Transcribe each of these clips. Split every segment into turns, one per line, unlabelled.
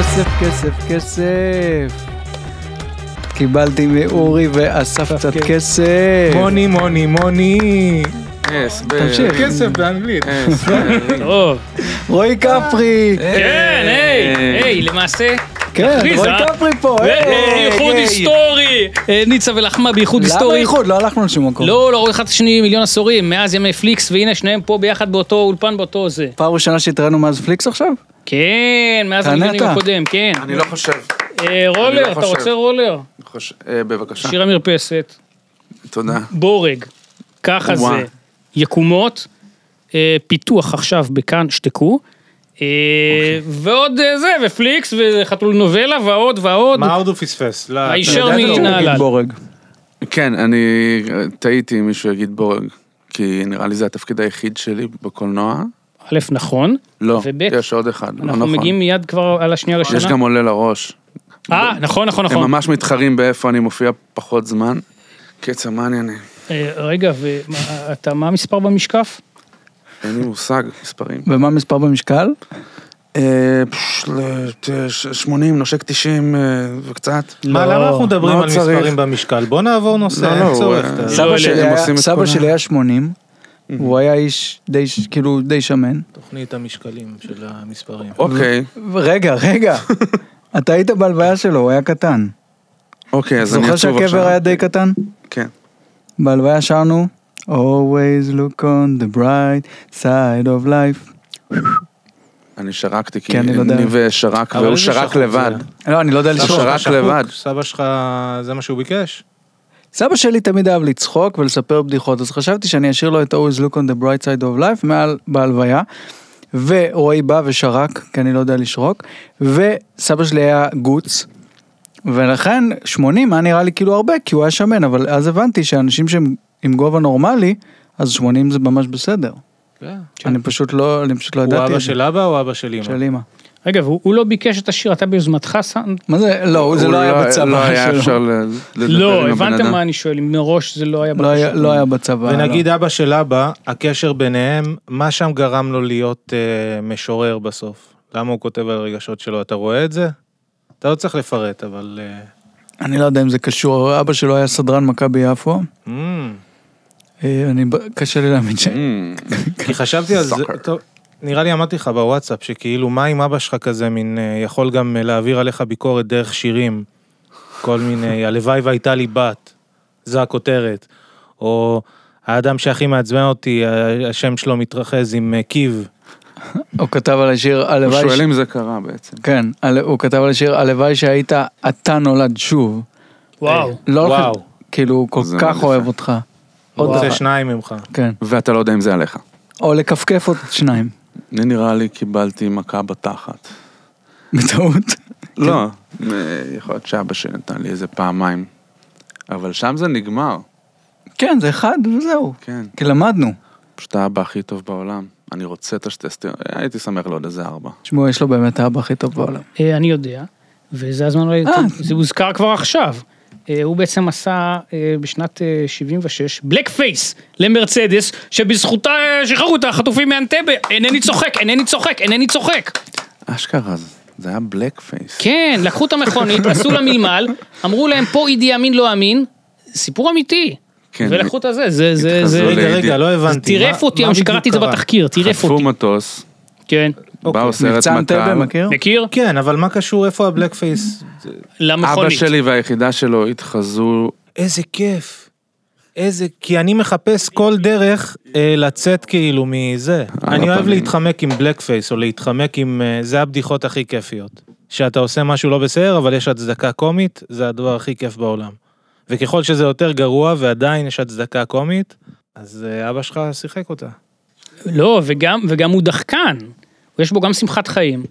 כסף, כסף. קיבלתי מאורי ואסף קצת
אוקיי.
כסף.
מוני, מוני, מוני.
תמשיך.
כסף באנגלית.
כן.
טוב.
רועי קפרי.
כן,
אה,
היי, היי, למעשה,
כן,
תכריז,
רועי
אה?
קפרי פה.
אה,
היי,
אה, איחוד
היי.
היסטורי. אה, ניצה ולחמה באיחוד
למה
היסטורי.
איחוד? לא הלכנו לשום מקום.
לא, לא, עוד אחד שני מיליון עשורים, מאז ימי פליקס, והנה שניהם פה ביחד באותו אולפן, באותו זה.
פעם ראשונה שהתראינו מאז פליקס עכשיו?
כן, מאז
תענה
המיליונים
אתה.
הקודם, כן.
אני לא חושב.
אה, רולר,
לא
אתה
חושב.
רוצה רולר?
חוש- אה, בבקשה.
שיר המרפסת,
תודה.
בורג, ככה זה,
וואו.
יקומות, אה, פיתוח עכשיו בכאן, שתקו. אה,
אוקיי.
ועוד אה, זה, ופליקס, וחתול נובלה, ועוד ועוד.
מה עוד הוא פספס? לא, אתה
הישר
יודע את
מן
זה?
ה- נהלל.
בורג.
כן, אני אה, טעיתי אם מישהו יגיד בורג, כי נראה לי זה התפקיד היחיד שלי בקולנוע.
א', נכון.
לא,
וב',
יש עוד אחד, לא
אנחנו
נכון.
מגיעים מיד כבר על השנייה לשנה.
יש גם עולה לראש.
אה, נכון, נכון,
הם
נכון.
ממש מתחרים באיפה אני מופיע פחות זמן. קצר, מה אני אני?
אה, רגע, ואתה, מה המספר במשקף?
אין לי מושג, מספרים.
ומה המספר במשקל?
אה, פש, ל- ת- ש- 80, נושק 90 אה, וקצת.
מה,
לא,
למה אנחנו מדברים
לא
על
צריך.
מספרים במשקל? בוא נעבור נושא,
לא,
אין
לא,
צורך.
הוא,
אתה-
אה,
לא,
סבא
אלה-
שלי
הם
היה-
עושים את
סבא
כל
שלי
ה-
היה 80,
Mm-hmm.
הוא היה איש די, ש- כאילו, די שמן.
תוכנית המשקלים של המספרים.
אוקיי,
רגע, רגע, אתה היית בהלוויה שלו, הוא היה קטן.
אוקיי, אז אני עצוב
זוכר
עכשיו.
שהקבר היה די קטן?
כן.
בהלוויה שרנו, always look on the bright side of life.
אני שרקתי,
כן,
כי
אני לא יודע.
ניב שרק,
אבל
והוא
איזה
שרק
שחוק זה
לבד.
היה?
לא, אני לא יודע
סבא
לשאול.
שרק
שחוק,
לבד.
סבא שלך, זה מה שהוא ביקש?
סבא שלי תמיד אהב לצחוק ולספר בדיחות, אז חשבתי שאני אשאיר לו את always look on the bright side of life מעל בהלוויה. ורועי בא ושרק, כי אני לא יודע לשרוק, וסבא שלי היה גוץ, ולכן 80 היה נראה לי כאילו הרבה, כי הוא היה שמן, אבל אז הבנתי שאנשים שהם עם גובה נורמלי, אז 80 זה ממש בסדר. אני פשוט לא, אני פשוט לא
כן. הוא
ידעתי.
אבא
את זה.
של אבא או אבא של אמא?
של אמא.
רגע, והוא הוא לא ביקש את השיר, אתה ביוזמתך שם?
מה זה, לא, זה
הוא
לא היה
לא היה
בצבא
אפשר
שלו.
ל- לדבר
לא,
עם הבן
הבנתם
אדם.
מה אני שואל, אם מראש זה לא היה
לא היה-
בקשה.
לא היה בצבא.
ונגיד אבא של אבא, הקשר ביניהם, מה שם גרם לו להיות אה, משורר בסוף? למה הוא כותב על הרגשות שלו? אתה רואה את זה? אתה לא צריך לפרט, אבל... אה,
לא. אני לא יודע אם זה קשור, אבא שלו היה סדרן מכבי יפו.
אמ,
אה, אני, ב- קשה לי להאמין ש...
Mm,
כי חשבתי על זה,
Sucker.
טוב, נראה לי אמרתי לך בוואטסאפ, שכאילו מה אם אבא שלך כזה מין, אה, יכול גם אה, להעביר עליך ביקורת דרך שירים, כל מיני, הלוואי והייתה לי בת, זו הכותרת, או האדם שהכי מעצבן אותי, ה- השם שלו מתרחז עם אה, קיב.
הוא כתב על השיר,
Mm. הוא
הלוואי... ש-
שואל אם זה קרה בעצם.
כן, על- הוא כתב על השיר, הלוואי שהיית אתה נולד שוב.
וואו.
לא
וואו.
הולכים- כאילו, הוא כל
זה
כך
מאוד
אוהב
יפה.
אותך.
הוא
עוד
רוצה
אחד.
שניים ממך.
כן.
ואתה לא יודע אם זה עליך.
או לכפכף עוד שניים.
אני נראה לי קיבלתי מכה בתחת.
בטעות.
לא, אה, יכול להיות שאבא שלי נתן לי איזה פעמיים. אבל שם זה נגמר,
כן, זה אחד וזהו.
כן.
כי למדנו.
פשוט האבא הכי טוב בעולם. אני רוצה את השתי סטיות, הייתי שמח לעוד איזה ארבע.
תשמעו, יש לו באמת האבא הכי טוב בעולם.
אה, אני יודע, וזה הזמן, אולי-
אה.
זה הוזכר כבר עכשיו. אה, הוא בעצם עשה אה, בשנת אה, 76 בלק פייס למרצדס, שבזכותה אה, שחררו את החטופים מאנטבה, אינני צוחק, אינני צוחק, אינני צוחק.
אשכרה, זה- זה היה בלק פייס.
כן, לקחו את המכונית, עשו לה מלמל, אמרו להם פה אידי אמין לא אמין, סיפור אמיתי.
כן,
ולקחו את הזה, זה, זה,
התחזו
זה,
ל-
רגע, רגע, לא
זה
הבנתי. מה-
טירף אותי
מה
היום
בדיוק
שקראתי את זה
קרה?
בתחפיר, טירף
חטפו
אותי.
מטוס,
כן,
באו סרט
מבצע אנטבה,
מטל,
אוקיי. מכיר?
מכיר?
כן, אבל מה קשור, איפה הבלק פייס? זה-
אבא
למכונית.
שלי והיחידה שלו התחזו
איזה כיף. איזה, כי אני מחפש כל דרך אה, לצאת כאילו מזה. אני אוהב
הפנים.
להתחמק עם בלק פייס או להתחמק עם, אה, זה הבדיחות הכי כיפיות. שאתה עושה משהו לא בסדר אבל יש הצדקה קומית, זה הדבר הכי כיף בעולם. וככל שזה יותר גרוע ועדיין יש הצדקה קומית, אז אה, אבא שלך שיחק אותה.
לא, וגם, וגם הוא דחקן. יש בו גם שמחת חיים,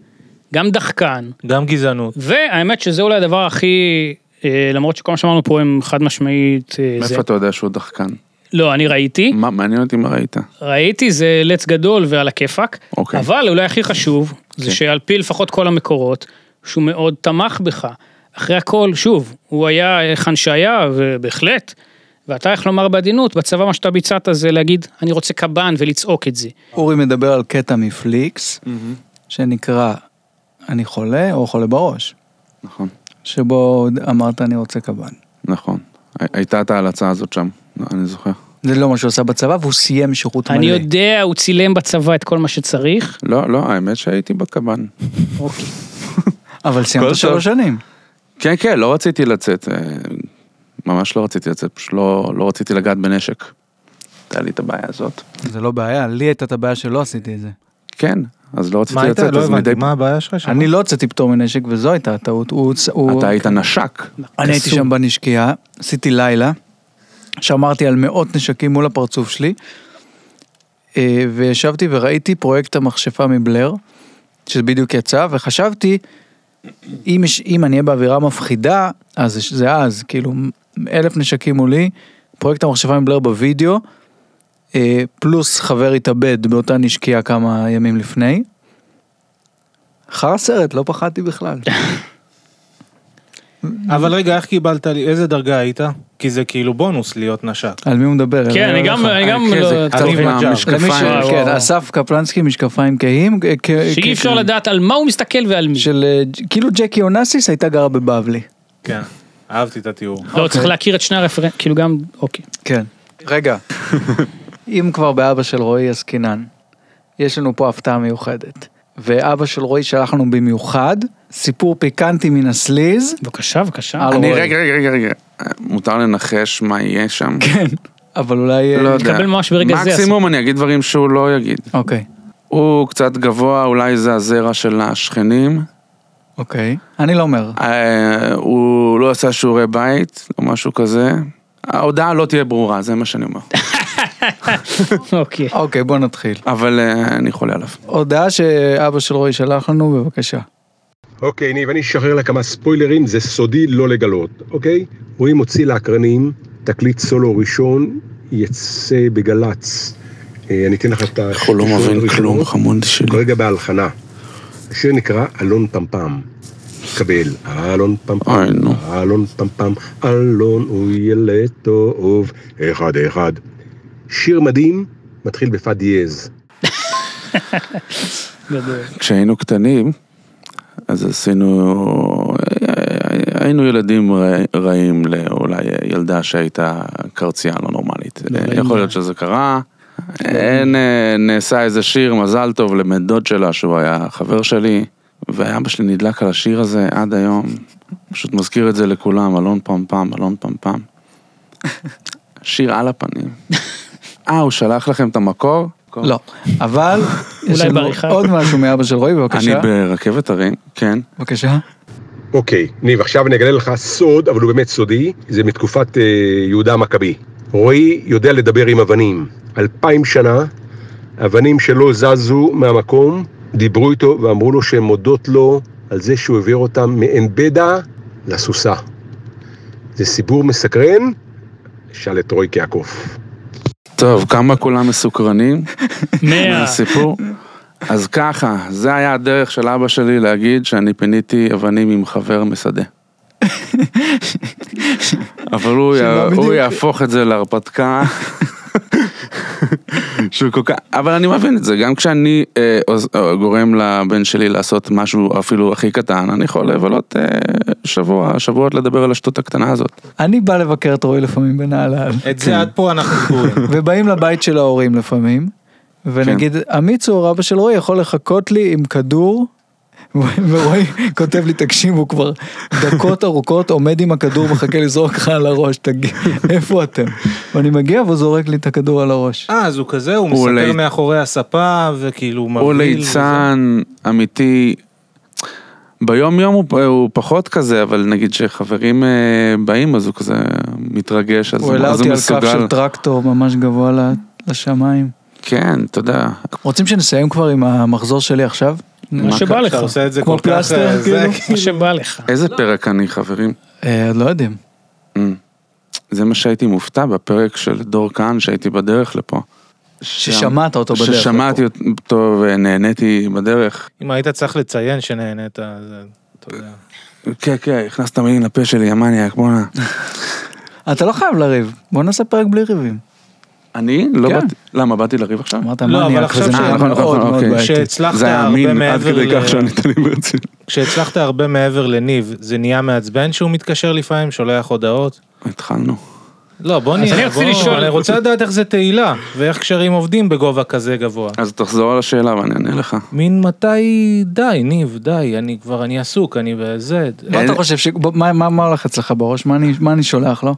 גם דחקן,
גם גזענות.
והאמת שזה אולי הדבר הכי, אה, למרות שכל מה שאמרנו פה הם חד משמעית, אה, זה,
מאיפה אתה יודע שהוא דחקן?
לא, אני ראיתי,
מה, מעניין אותי מה ראית.
ראיתי זה לץ גדול ועל הכיפאק,
אוקיי.
אבל אולי הכי חשוב, זה
אוקיי.
שעל פי לפחות כל המקורות, שהוא מאוד תמך בך. אחרי הכל, שוב, הוא היה היכן שהיה, ובהחלט, ואתה, איך לומר בעדינות, בצבא מה שאתה ביצעת זה להגיד, אני רוצה קב"ן ולצעוק את זה.
אורי מדבר על קטע מפליקס, שנקרא אני חולה או חולה בראש.
נכון,
שבו אמרת אני רוצה קב"ן.
נכון. הי- הייתה את ההלצה הזאת שם, אני זוכר.
זה לא מה שהוא עשה בצבא, והוא סיים שירות מלא.
אני יודע, הוא צילם בצבא את כל מה שצריך.
לא, לא, האמת שהייתי בקב"ן.
אבל סיימת
כל
שלוש שנים.
כן, כן, לא רציתי לצאת. אה, ממש לא רציתי לצאת, פשוט לא, לא רציתי לגעת בנשק. הייתה לי את הבעיה הזאת.
זה לא בעיה, לי הייתה את הבעיה שלא עשיתי את זה.
כן, אז לא
מה
רציתי
הייתה?
לצאת,
לא
אז
הבנתי,
מדי...
מה הבעיה שלך שם?
אני לא הוצאתי פטור מנשק, וזו הייתה הטעות. הוא... הוצ- הוא-
אתה היית נשק.
אני הייתי
קסום.
שם בנשקייה, עשיתי לילה, שמרתי על מאות נשקים מול הפרצוף שלי, אה, וישבתי וראיתי פרויקט המכשפה מבלר, שבדיוק יצא, וחשבתי, אם, יש- אם אני אהיה באווירה מפחידה, אז זה- זה אז, כאילו, אלף נשקים מולי, פרויקט המכשפה מבלר בווידאו, אה, פלוס חבר התאבד באותה נשקייה כמה ימים לפני. אחר הסרט, לא פחדתי בכלל.
אבל רגע, איך קיבלת, לי- איזה דרגה היית? כי זה כאילו בונוס להיות נשק.
על מי הוא מדבר?
כן,
אליי
אני
או
גם-
אליך?
אני גם
כן,
לא...
זה קצת
אני
עם
וג'אב.
למי ש...
המשקפיים.
וואו,
כן,
וואו.
אסף קפלנסקי משקפיים כהים. אה, כ-
שאי
כן,
כ-
אפשר
כ-
לדעת על מה הוא מסתכל ועל מי.
של... אה, ג'- כאילו ג'קי אונסיס הייתה גרה בבבלי.
כן, אהבתי את התיאור.
אוקיי.
לא, צריך להכיר את שני הרפרנט, כאילו גם, אוקיי.
כן. רגע. אם כבר באבא של רועי עסקינן, יש לנו פה הפתעה מיוחדת. ואבא של רועי שלח לנו במיוחד סיפור פיקנטי מן הסליז.
בבקשה, בבקשה.
לא
על
אני,
רועי.
רגע, רגע, רגע, רגע. אה, מותר לנחש מה יהיה שם.
כן. אבל אולי...
כן,
אה,
לא יודע.
תקבל ממש ברגע זה,
מקסימום אני אגיד דברים שהוא לא יגיד.
אוקיי.
הוא קצת גבוה, אולי זה הזרע של השכנים.
אוקיי. אני לא אומר.
אה, הוא לא עשה שיעורי בית, או משהו כזה. ההודעה לא תהיה ברורה, זה מה שאני אומר.
אוקיי.
אוקיי, בוא נתחיל.
אבל אה, אני חולה עליו.
הודעה שאבא של רועי שלח לנו, בבקשה.
אוקיי, ניב, אני אשחרר לה כמה ספוילרים, זה סודי לא לגלות, אוקיי? רועי מוציא לאקרנים תקליט סולו ראשון, יצא בגל"צ. אה, אני אתן לך את ה...
הוא לא מבין כלום, חמוד
הוא
שלי.
כרגע בהלחנה. השיר נקרא אלון פמפם. קבל, אלון פמפם,
אוי, נו.
אלון פמפם, אלון הוא ילד טוב, אחד אחד. שיר מדהים, מתחיל בפא דיאז.
גדול.
כשהיינו קטנים, אז עשינו... אה, היינו ילדים רע- רעים לאולי ילדה שהייתה קרצייה לא נורמלית. אה, יכול להיות שזה קרה. אין, אה, נעשה איזה שיר, מזל טוב לבן דוד שלה, שהוא היה חבר שלי, ואבא שלי נדלק על השיר הזה עד היום. פשוט מזכיר את זה לכולם, אלון פמפם, אלון פמפם. שיר על הפנים. אה, הוא שלח לכם את המקור?
לא. אבל... יש לנו
בעריכה.
עוד משהו מאבא של רועי,
אני
בבקשה.
ברכבת הרים, כן.
בבקשה.
אוקיי, ניב, עכשיו אני אגלה לך סוד, אבל הוא באמת סודי, זה מתקופת אה, יהודה המכבי. רועי יודע לדבר עם אבנים. אלפיים שנה, אבנים שלא זזו מהמקום, דיברו איתו ואמרו לו שהן מודות לו על זה שהוא העביר אותם מעין בדע לסוסה. זה סיפור מסקרן, שאל את רועי קעקוף.
טוב, כמה כולם מסוקרנים
מאה.
מהסיפור? אז ככה, זה היה הדרך של אבא שלי להגיד שאני פיניתי אבנים עם חבר משדה. אבל הוא, י...
שמה בדיוק?
הוא יהפוך את זה להרפתקה. שהוא כל כך, אבל אני מבין את זה, גם כשאני אה, עוז- אה, גורם לבן שלי לעשות משהו אפילו הכי קטן, אני יכול לבלות אה, שבוע, שבועות לדבר על השטות הקטנה הזאת.
אני בא לבקר את רועי לפעמים בנהלל,
את זה עד פה אנחנו תקועים.
ובאים לבית של ההורים לפעמים, ונגיד, עמית צור, אבא של רועי, יכול לחכות לי עם כדור, ורועי כותב לי, תקשיבו, כבר דקות ארוכות עומד עם הכדור ומחכה לזרוק לך על הראש, תגיד, איפה אתם? ואני מגיע והוא זורק לי את הכדור על הראש.
אה, אז הוא כזה, הוא
הוא
מסתתר
לי-
מאחורי הספה, וכאילו מבהיל.
הוא
וזה.
ליצן אמיתי. ביום יום הוא, הוא פחות כזה, אבל נגיד שחברים אה, באים אז הוא כזה מתרגש, אז
הוא העלה
אז
אותי על כף של טרקטור ממש גבוה ל- לשמיים.
כן, אתה יודע.
רוצים שנסיים כבר עם המחזור שלי עכשיו?
מה שבא לך.
אתה עושה את זה
כמו
כל כך...
פלסטר,
אה, זה-
כאילו?
מה שבא לך.
איזה פרק אני, חברים?
אה, עוד לא יודעים.
Mm. זה מה שהייתי מופתע בפרק של דור כהן שהייתי בדרך לפה.
ששמעת אותו בדרך.
ששמעתי אותו ונהניתי בדרך.
אם היית צריך לציין שנהנית, אז אה, אתה יודע.
כן, כן, הכנסת מילים לפה שלי, המניאק, בואנה.
אתה לא חייב לריב, בוא נעשה פרק בלי ריבים.
אני? לא
כן.
באתי, למה, באתי לריב עכשיו?
אמרת
לא, אבל
מניאק,
עכשיו
וזה
ש-
נראה
אה,
מאוד
נכון,
מאוד
נכון, אוקיי.
בעייתי.
שהצלחת
זה היה
הרבה
מין עד
מעבר
כדי
ל-
כך שענית לי ברצינות.
כשהצלחת הרבה מעבר לניב, זה נהיה מעצבן שהוא מתקשר לפעמים, שולח הודעות?
התחלנו.
לא, בוא
אז
נראה,
אני רציתי
בוא-
לשאול-
אני רוצה לדעת איך זה תהילה, ואיך קשרים עובדים בגובה כזה גבוה.
אז תחזור על השאלה ואני אענה לך.
מין מתי, די, ניב, די, אני כבר, אני עסוק, אני בזה.
מה אתה חושב, ש- בוא, מה- מה מה הולך אצלך בראש? מה אני- מה אני שולח לא? לו?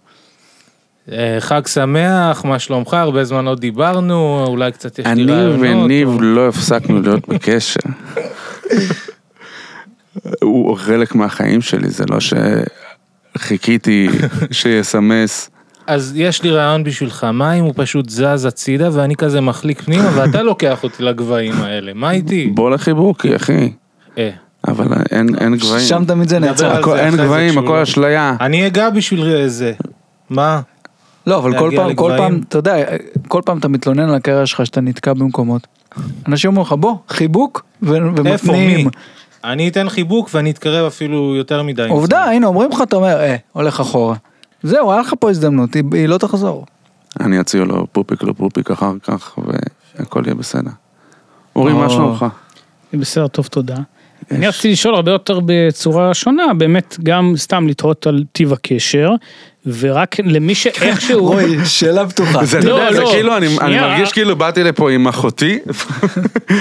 אה, חג שמח, מה שלומך, הרבה זמן לא דיברנו, אולי קצת יש לי
אני
רעיונות.
וניב
או-
לא הפסקנו להיות בקשר. הוא חלק מהחיים שלי, זה לא שחיכיתי שיסמס.
אז יש לי רעיון בשבילך, מה אם הוא פשוט זז הצידה ואני כזה מחליק פנימה ואתה לוקח אותי לגבהים האלה, מה איתי?
בוא לחיבוקי, אחי.
אה,
אבל אין אין גבהים.
שם תמיד זה
דבר
נעצר.
על
הכל-
זה
אין
אחרי זה
גבהים,
כשהוא
הכל
לא-
אשליה.
אני אגע בשביל זה, מה?
לא, אבל כל
להגיע
פעם, כל
לגבהים.
פעם, אתה יודע, כל פעם אתה מתלונן על הקריירה שלך שאתה נתקע במקומות. אנשים אומרים לך, בוא, חיבוק, ו-
איפה, מי?
ומפנים.
אני אתן חיבוק ואני אתקרב אפילו יותר מדי.
עובדה, הנה, אומרים לך, אתה אומר, אה, הולך אחורה. זהו, היה לך פה הזדמנות, היא היא לא תחזור.
אני אציע לו פופיק לפופיק אחר כך, והכל יהיה בסדר. אורי, מה
או.
שלומך?
בסדר, טוב, תודה. אני רציתי לשאול הרבה יותר בצורה שונה, באמת גם סתם לתהות על טיב הקשר, ורק למי שאיכשהו...
רועי, שאלה פתוחה.
זה,
לא,
אתה יודע, זה
לא.
כאילו, אני, אני
שנייה.
מרגיש כאילו באתי לפה עם אחותי,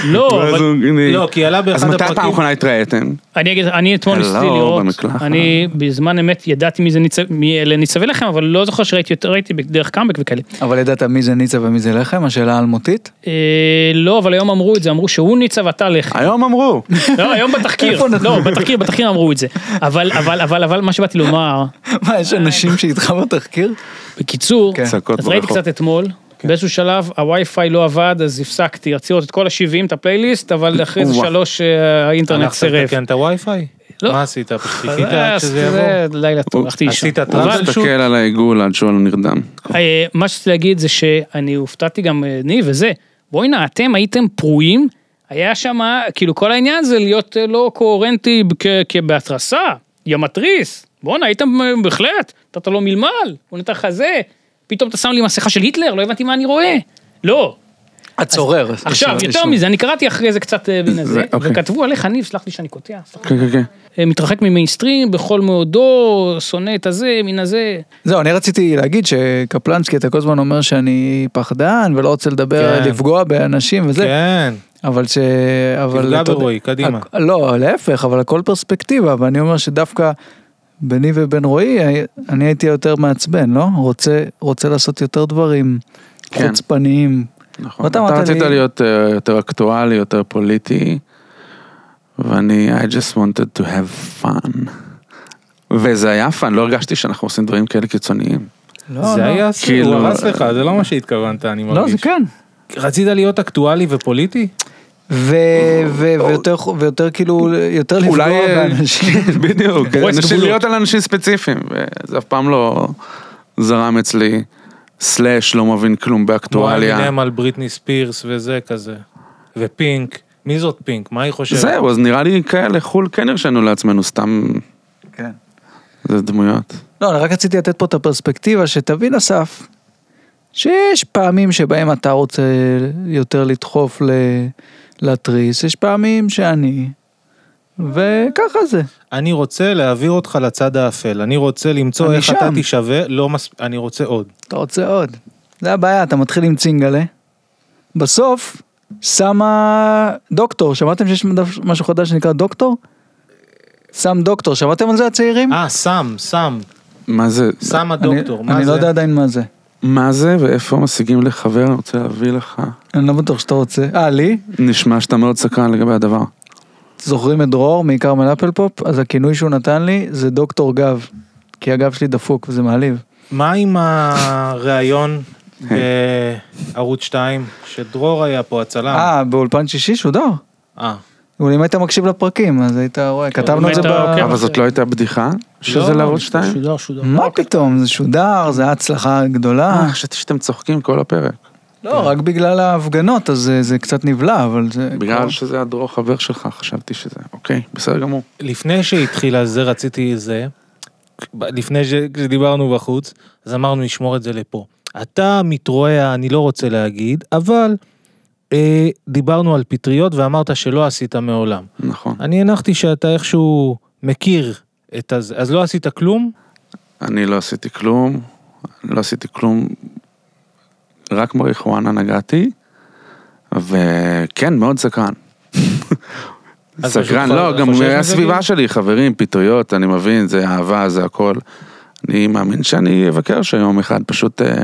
לא,
ואז
אבל
הוא- אני-
לא, כי עלה באחד
אז מתי
הפרקים-
פעם אחרונה התראיתם?
אני אגיד, אני אתמול
Hello,
ניסיתי לראות,
במקלחת.
אני בזמן אמת ידעתי מי זה ניצב, מי אלה ניצבי לחם, אבל לא זוכר שראיתי יותר, ראיתי דרך קאמבק וכאלה.
אבל ידעת מי זה ניצה ומי זה לחם? השאלה האלמותית?
אה, לא, אבל היום אמרו את זה, אמרו שהוא ניצב ואתה לחם.
היום אמרו.
לא, היום בתחקיר,
איפה נתנו?
לא, בתחקיר, בתחקיר אמרו את זה. אבל, אבל, אבל, אבל מה שבאתי לומר,
מה, יש אנשים שאיתך בתחקיר?
בקיצור,
כן.
צעקות
אז ראיתי
ברחוב. כן.
קצת אתמול, באיזשהו שלב הווי-פיי לא עבד, אז הפסקתי, רציתי לראות את כל ה-70, את הפלייליסט, אבל אחרי זה
וואו.
שלוש אה, האינטרנט
הלכת
סירב.
לתקן את הווי-פיי?
לא.
מה עשית? פשוט חיכית
אה,
עד שזה
זה
יבוא?
לילה
אוקיי.
טוב, הלכתי לישון.
עשית
הוא
טראבל
מסתכל
שוט?
על העיגול עד שהוא נרדם.
אה, מה שרציתי להגיד זה שאני הופתעתי גם, אה, ניב וזה, בוא'נה, אתם הייתם פרועים, היה שם, כאילו כל העניין זה להיות אה, לא קוהרנטי כ- כבהתרסה, יא מתריס, בוא'נה, הייתם אה, בהחלט, נתת לו מלמל, הוא נתן לך זה, פתאום אתה שם לי מסכה של היטלר, לא הבנתי מה אני רואה. לא,
הצורר.
עכשיו, יותר מזה, אני קראתי אחרי זה קצת אה, מן הזה,
אוקיי.
וכתבו עליך, ניב, סלח לי שאני קוטע, סלח לי.
כן, כן, כן.
אה, מתרחק ממיינסטרים, בכל מאודו, שונא את הזה, מן הזה.
זהו, אני רציתי להגיד שקפלנסקי, אתה כל הזמן אומר שאני פחדן ולא רוצה לדבר,
כן.
לפגוע באנשים וזה.
כן.
אבל ש... אבל...
תפגע
אתה יודע-
ברועי, קדימה.
הכ- לא, להפך, אבל הכל פרספקטיבה, ואני אומר שדווקא ביני ובין רועי, הי- אני הייתי יותר מעצבן, לא? רוצה, רוצה לעשות יותר דברים
כן.
חוצפניים.
נכון.
ואתה
אתה
אמרת
רצית
לי-
להיות אה, יותר אקטואלי, יותר פוליטי, ואני, I just wanted to have fun. וזה היה fun, לא הרגשתי שאנחנו עושים דברים כאלה קיצוניים.
לא,
זה
לא.
היה,
כאילו-
הוא הרס לך, זה לא מה שהתכוונת, אני
לא, זה
מרגיש.
כן.
רצית להיות אקטואלי ופוליטי?
ו- ו- ויותר, ויותר כאילו, יותר לפגוע
אולי, אה,
באנשים.
בדיוק,
פורץ
כן. אנשים- לא-
גבולות.
להיות על אנשים ספציפיים, וזה אף פעם לא זרם אצלי, סלאש לא מבין כלום
כמו
באקטואליה.
אמינם על בריטני ספירס וזה כזה. ופינק, מי זאת פינק? מה היא חושבת?
זהו, אז נראה לי כאלה חו"ל כן הרשינו לעצמנו, סתם
כן.
זה דמויות.
לא, אני רק רציתי לתת פה את הפרספקטיבה, שתבין אסף, שיש פעמים שבהם אתה רוצה יותר לדחוף ל... להתריס, יש פעמים שאני, וככה זה.
אני רוצה להעביר אותך לצד האפל, אני רוצה למצוא
אני
איך אתה
שם.
תישווה, לא מספיק, אני רוצה עוד.
אתה רוצה עוד. זה הבעיה, אתה מתחיל עם צינגלה. בסוף, שמה דוקטור, שמעתם שיש משהו חדש שנקרא דוקטור? שם דוקטור, שמעתם על זה הצעירים?
אה, סם, סם,
מה זה,
סם הדוקטור,
אני,
מה
אני לא
זה?
יודע עדיין מה זה.
מה זה ואיפה משיגים לחבר, אני רוצה להביא לך.
אני לא בטוח שאתה רוצה. אה, לי?
נשמע שאתה מאוד סקרן לגבי הדבר.
זוכרים את דרור מכרמל אפל פופ? אז הכינוי שהוא נתן לי זה דוקטור גב. כי הגב שלי דפוק וזה מעליב.
מה עם הראיון בערוץ 2, שדרור היה פה, הצלם?
אה, באולפן שישי שודר.
אה.
אבל אם היית מקשיב לפרקים אז היית רואה, כתבנו כן, את זה
אם היית
ב...
עוקב.
אבל זאת לא הייתה בדיחה? שזה
לא,
לערוץ 2?
שודר, שודר.
מה פתאום, זה שודר, זה היה הצלחה גדולה.
לא.
אה, חשבתי שאתם צוחקים כל הפרק.
לא, רק בגלל ההפגנות, אז אה, זה, זה קצת נבלע, אבל זה...
בגלל שזה הדרור חבר שלך, חשבתי שזה. אוקיי, בסדר גמור.
לפני שהתחילה זה רציתי זה, לפני שדיברנו בחוץ, אז אמרנו נשמור את זה לפה. אתה מתרועע, אני לא רוצה להגיד, אבל אה, דיברנו על פטריות ואמרת שלא עשית מעולם.
נכון.
אני הנחתי שאתה איכשהו מכיר את הזה, אז לא עשית כלום?
אני לא עשיתי כלום, לא עשיתי כלום, רק מריחואנה נגעתי, וכן, מאוד סקרן.
אז
סקרן,
פשוט
לא,
חו-
גם
חושש מזה כאילו?
הסביבה שלי, חברים, פטריות, אני מבין, זה אהבה, זה הכל. אני מאמין שאני אבקר שם יום אחד, פשוט אה,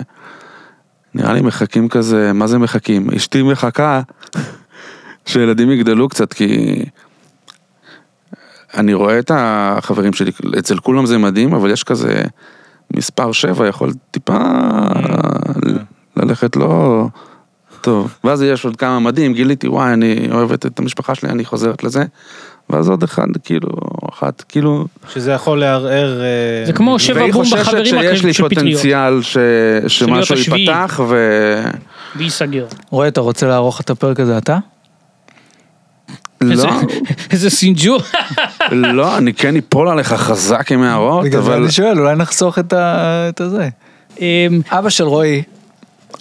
נראה לי מחכים כזה, מה זה מחכים? אשתי מחכה שילדים יגדלו קצת, כי אני רואה את החברים שלי, אצל כולם זה מדהים, אבל יש כזה מספר שבע, יכול טיפה
Mm.
ללכת לא... טוב, ואז יש עוד כמה מדהים, גיליתי, וואי, אני אוהבת את המשפחה שלי, אני חוזרת לזה. ואז עוד אחד, כאילו, אחת, כאילו...
שזה יכול לערער... אה,
זה כמו שבע
כן. והיא
בום
חוששת
בחברים
שיש
הקרובים
לי
של פטריות.
פוטנציאל ש... שמשהו
השביעי.
ייפתח, ו...
וייסגר.
רועי, אתה רוצה לערוך את הפרק הזה אתה?
לא,
איזה- איזה סינג'ור.
לא, אני כן אפול עליך חזק עם הערות,
בגלל זה
אבל...
אני שואל, אולי נחסוך את ה- את הזה.
אמ,
אבא של רועי,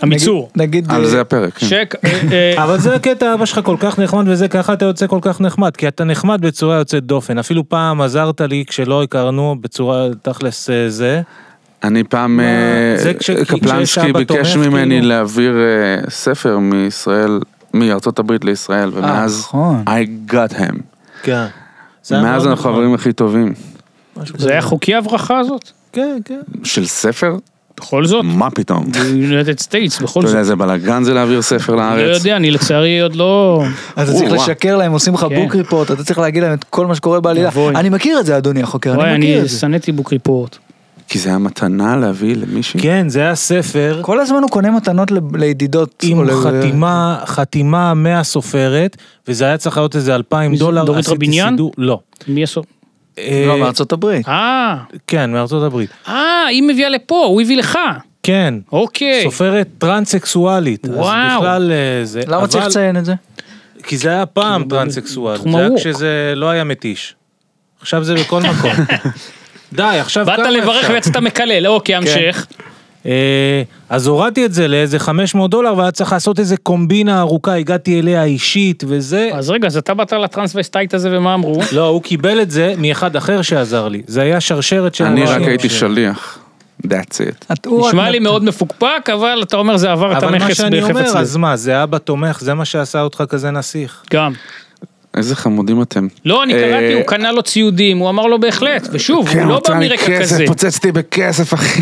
המיצור.
נגיד,
על
אה,
זה הפרק, כן.
שק. אה, אה,
אבל זה הקטע, אבא שלך כל כך נחמד וזה, ככה אתה יוצא כל כך נחמד, כי אתה נחמד בצורה יוצאת דופן. אפילו פעם עזרת לי כשלא הכרנו בצורה תכלס אה, זה.
אני פעם, אה,
זה כש- כשיש
קפלנסקי
אבא
ביקש
תומך,
ממני
כאילו.
להעביר אה, ספר מישראל, מארצות הברית לישראל, ומאז
נכון.
I got him.
כן. זה היה מאוד
מאז
נכון.
אנחנו
נחמד.
החברים הכי טובים.
משהו
זה
כזה.
היה חוקי הברכה הזאת?
כן, כן.
של ספר?
בכל זאת.
מה פתאום?
United States,
אתה
בכל
יודע
זאת.
איזה בלאגן זה להעביר ספר
לא
לארץ?
יודע, אני לצערי עוד לא...
אז אתה צריך
או-אה.
לשקר להם, עושים לך
כן.
בוק ריפורט, אתה צריך להגיד להם את כל מה שקורה בעלילה.
אבוי.
אני מכיר את זה, אדוני החוקר,
וואי,
אני מכיר
אני
את זה.
שנאתי בוק ריפורט.
כי זה היה מתנה להביא למישהי?
כן, זה היה ספר
כל הזמן הוא קונה מתנות ל- לידידות. או
עם
ל-
חתימה, חתימה מהסופרת, וזה היה צריך להיות איזה אלפיים
מי זה,
דולר.
דורית
עשיתי
רביניאן?
סידור- לא.
מי עשו?
אה,
לא, מארצות הברית.
אה,
כן, מארצות הברית.
אה, היא מביאה לפה, הוא הביא לך.
כן.
אוקיי.
סופרת טרנסקסואלית. אז
וואו.
בכלל אה, זה...
למה
אבל-
צריך לציין את זה?
כי זה היה פעם טרנסקסואל,
תחום
זה היה
ארוך.
כשזה לא היה מתיש. עכשיו זה בכל מקום. די, עכשיו כן.
באת
כמה
לברך
אפשר?
ויצאת מקלל, אוקיי, המשך.
אה, אז הורדתי את זה לאיזה 500 דולר, והיה צריך לעשות איזה קומבינה ארוכה, הגעתי אליה אישית וזה.
אז רגע, אז אתה באת לטרנסווסטייט הזה ומה אמרו?
לא, הוא קיבל את זה מאחד אחר שעזר לי. זה היה שרשרת של...
אני רק
אנשים.
הייתי שליח. That's it.
את- הוא
נשמע
רק-
לי מאוד מפוקפק, אבל אתה אומר זה עבר את
אבל מה
המכס
שאני
בחפץ
אומר,
לב.
אז מה, זה אבא תומך, זה מה שעשה אותך כזה נסיך.
גם.
איזה חמודים אתם.
לא, אני קראתי,
אה,
הוא קנה לו ציודים, הוא אמר לו בהחלט, ושוב,
כן,
הוא לא
רוצה
בא
לי
מרקע
כסף,
כזה.
פוצצתי בכסף, אחי.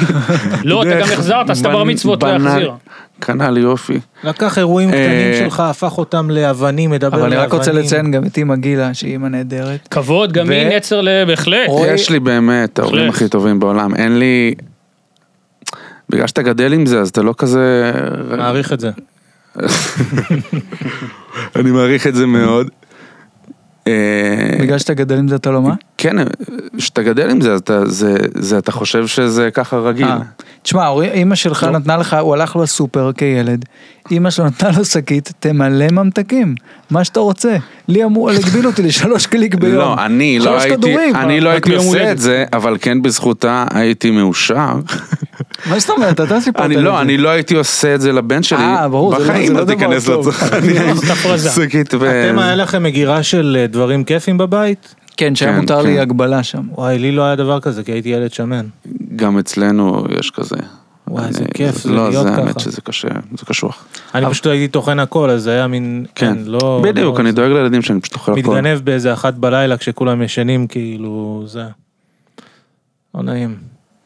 לא, אתה
דרך
גם החזרת, אז אתה בר
בנ-
מצוות לא
בנאלי.
יחזיר.
קנה לי יופי.
לקח אירועים
אה,
קטנים שלך, הפך אותם לאבנים, מדבר לאבנים.
אבל אני רק רוצה לציין גם את אימא גילה, שהיא אימא נהדרת.
כבוד, גם
ו-
היא נצר ל... בהחלט.
אוי.
יש לי באמת ההורים
בהחלט.
הכי טובים בעולם. אין לי... בגלל שאתה גדל עם זה, אז אתה לא כזה...
מעריך את זה.
אני מעריך את זה מאוד. אה,
בגלל שאתה גדל עם זה, אתה לא מה?
כן, כשאתה גדל עם זה, אז אתה, זה, זה, אתה חושב שזה ככה רגיל.
אה. תשמע, ההורים- אימא שלך נתנה לך, הוא הלך לסופר כילד, אימא שלו נתנה לו שקית, תמלא ממתקים, מה שאתה רוצה. לי אמרו, הגבילו אותי לשלוש קליק ביום.
לא, אני לא
שלוש
הייתי,
כדורים.
אני לא
רק
הייתי
ביום
עושה
הולדת.
את זה, אבל כן בזכותה הייתי מאושר.
מה זאת אומרת, אתה סיפרת
אני
לי את
לא,
זה.
אני לא הייתי עושה את זה לבן שלי.
אה, ברור, זה לא- זה
בחיים
לא
אל
דבר
תיכנס
טוב.
לצרכני.
זאת הפרזה.
שקית ו...
אתם היה לכם מגירה של אה, דברים כיפים בבית?
כן, שהיה
כן,
מותר לי
כן.
הגבלה שם.
וואי, לי לא היה דבר כזה, כי הייתי ילד שמן.
גם אצלנו יש כזה.
וואי,
אני-
זה כיף, זה
לא,
להיות
זה
ככה.
האמת שזה קשה, זה קשוח.
אני פשוט הייתי טוחן הכל, אז זה היה מין...
כן,
לא...
בדיוק,
לא-
אני דואג לילדים שאני פשוט אוכל הכל.
מתגנב באיזה אחת בלילה כשכולם ישנים, כאילו, זה... לא נעים.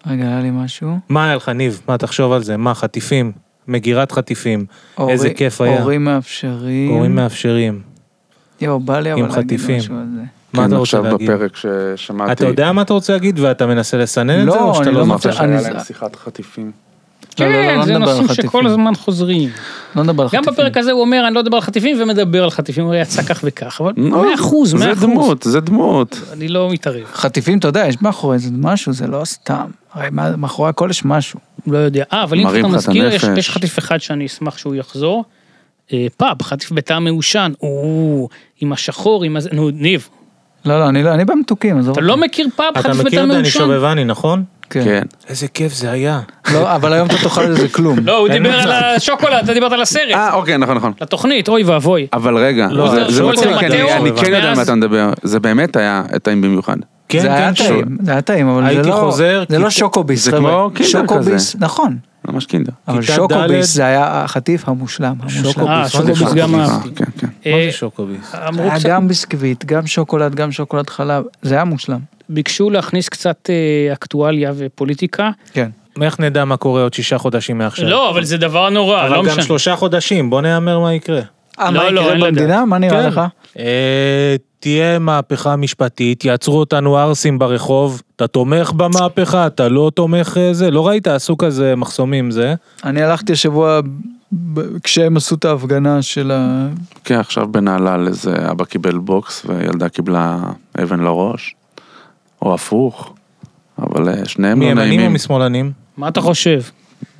רגע, היה לי משהו.
מה היה לך, ניב? מה, תחשוב על זה. מה, חטיפים? מגירת חטיפים. איזה
הורי-
כיף היה.
הורים מאפשרים.
הורים מאפשרים.
יואו, בא לי אבל להגיד
חטיפים.
משהו על זה.
מה
כן,
אתה רוצה
עכשיו
להגיד?
בפרק ששמעתי.
אתה יודע מה אתה רוצה להגיד ואתה מנסה לסנן את
לא,
זה או שאתה
אני
לא
לא
זוכר?
רוצה- אני-
להם שיחת חטיפים.
לא, לא, לא,
כן,
לא
זה
נדבר על
נושאים
חטיפים.
שכל הזמן חוזרים.
לא נדבר על
גם
חטיפים.
בפרק הזה הוא אומר, אני לא אדבר על חטיפים, ומדבר על חטיפים, הוא יצא כך וכך, אבל 100 אחוז, 100
זה
אחוז.
דמות, זה דמות.
אני לא מתערב,
חטיפים, אתה יודע, יש מאחורי זה משהו, זה לא סתם. הרי מה- מאחורי הכל יש משהו.
לא יודע. אה, אבל אם
מרים
אתה
לך את
מזכיר, יש-
הנפש.
יש חטיף אחד שאני אשמח שהוא יחזור. אה, פאב, חטיף בתא מעושן, או, עם השחור, עם הזה, נו, ניב,
לא, לא, אני לא, אני במתוקים, עזוב.
אתה
אותי.
לא מכיר פאב,
אתה
חטיף בתא
מכיר את דני
מעושן?
שובבני, נכון?
כן.
כן.
איזה כיף זה היה.
לא, אבל היום אתה תאכל על זה כלום.
לא, הוא
אין
דיבר על
מצב.
השוקולד, אתה דיברת על הסרט,
אה, אוקיי, נכון, נכון.
לתוכנית, אוי ואבוי.
אבל רגע,
לא,
זה-
זה
זה
שמואל
מצחיק, כי אני
תמטאו,
אני כן יודע על
ואז-
מה אתה מדבר. זה באמת היה טעים במיוחד.
כן,
זה היה
כן, שוב.
טעים, זה היה טעים, אבל זה
הייתי
לא,
חוזר,
זה לא
כיתה-
שוקוביס,
זה
חבר'ה.
כמו קינדר
שוקוביס, נכון,
ממש קינדר.
אבל
כיתה ד'.
שוקוביס זה היה החטיף המושלם, המושלם.
אה, שוקוביס גם
אה,
אהבתי.
כן, כן.
מה
אה,
זה שוקוביס?
אמרו
אה,
היה
קצת,
גם ביסקוויט, גם שוקולד, גם שוקולד חלב, זה היה מושלם.
ביקשו להכניס קצת אה, אקטואליה ופוליטיקה.
כן.
איך נדע מה קורה עוד שישה חודשים
כן.
מעכשיו?
לא, אבל זה דבר נורא, לא
אבל גם
משנה.
שלושה חודשים, בוא נהמר מה יקרה.
אה,
לא,
מה
לא,
יקרה
אין לדעת.
במדינה? מה נראה
כן.
לך?
אה, תהיה מהפכה משפטית, יעצרו אותנו ערסים ברחוב, אתה תומך במהפכה, אתה לא תומך אה, זה, לא ראית, עשו כזה מחסומים זה.
אני הלכתי השבוע ב- כשהם עשו את ההפגנה של ה...
כן, עכשיו בנהלל איזה אבא קיבל בוקס וילדה קיבלה אבן לראש, או הפוך, אבל אה, שניהם לא
מימנים או
נעימים.
משמאלנים?
מה אתה חושב?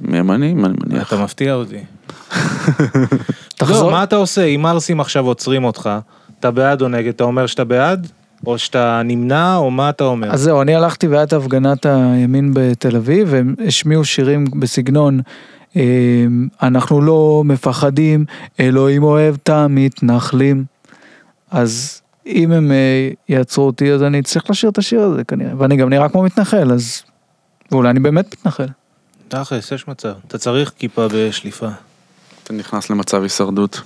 מימנים, אני מניח.
אתה מפתיע אותי.
תחזור.
לא, מה אתה עושה? אם ערסים עכשיו עוצרים אותך, אתה בעד או נגד, אתה אומר שאתה בעד? או שאתה נמנע, או מה אתה אומר?
אז זהו, אני הלכתי והיה את הפגנת הימין בתל אביב, והם השמיעו שירים בסגנון, אה, אנחנו לא מפחדים, אלוהים אוהב את המתנחלים. אז אם הם אה, יעצרו אותי, אז אני אצטרך לשיר את השיר הזה כנראה, ואני גם נראה כמו מתנחל, אז... ואולי אני באמת מתנחל.
תכלס, יש מצב. אתה צריך כיפה בשליפה.
אתה נכנס למצב הישרדות.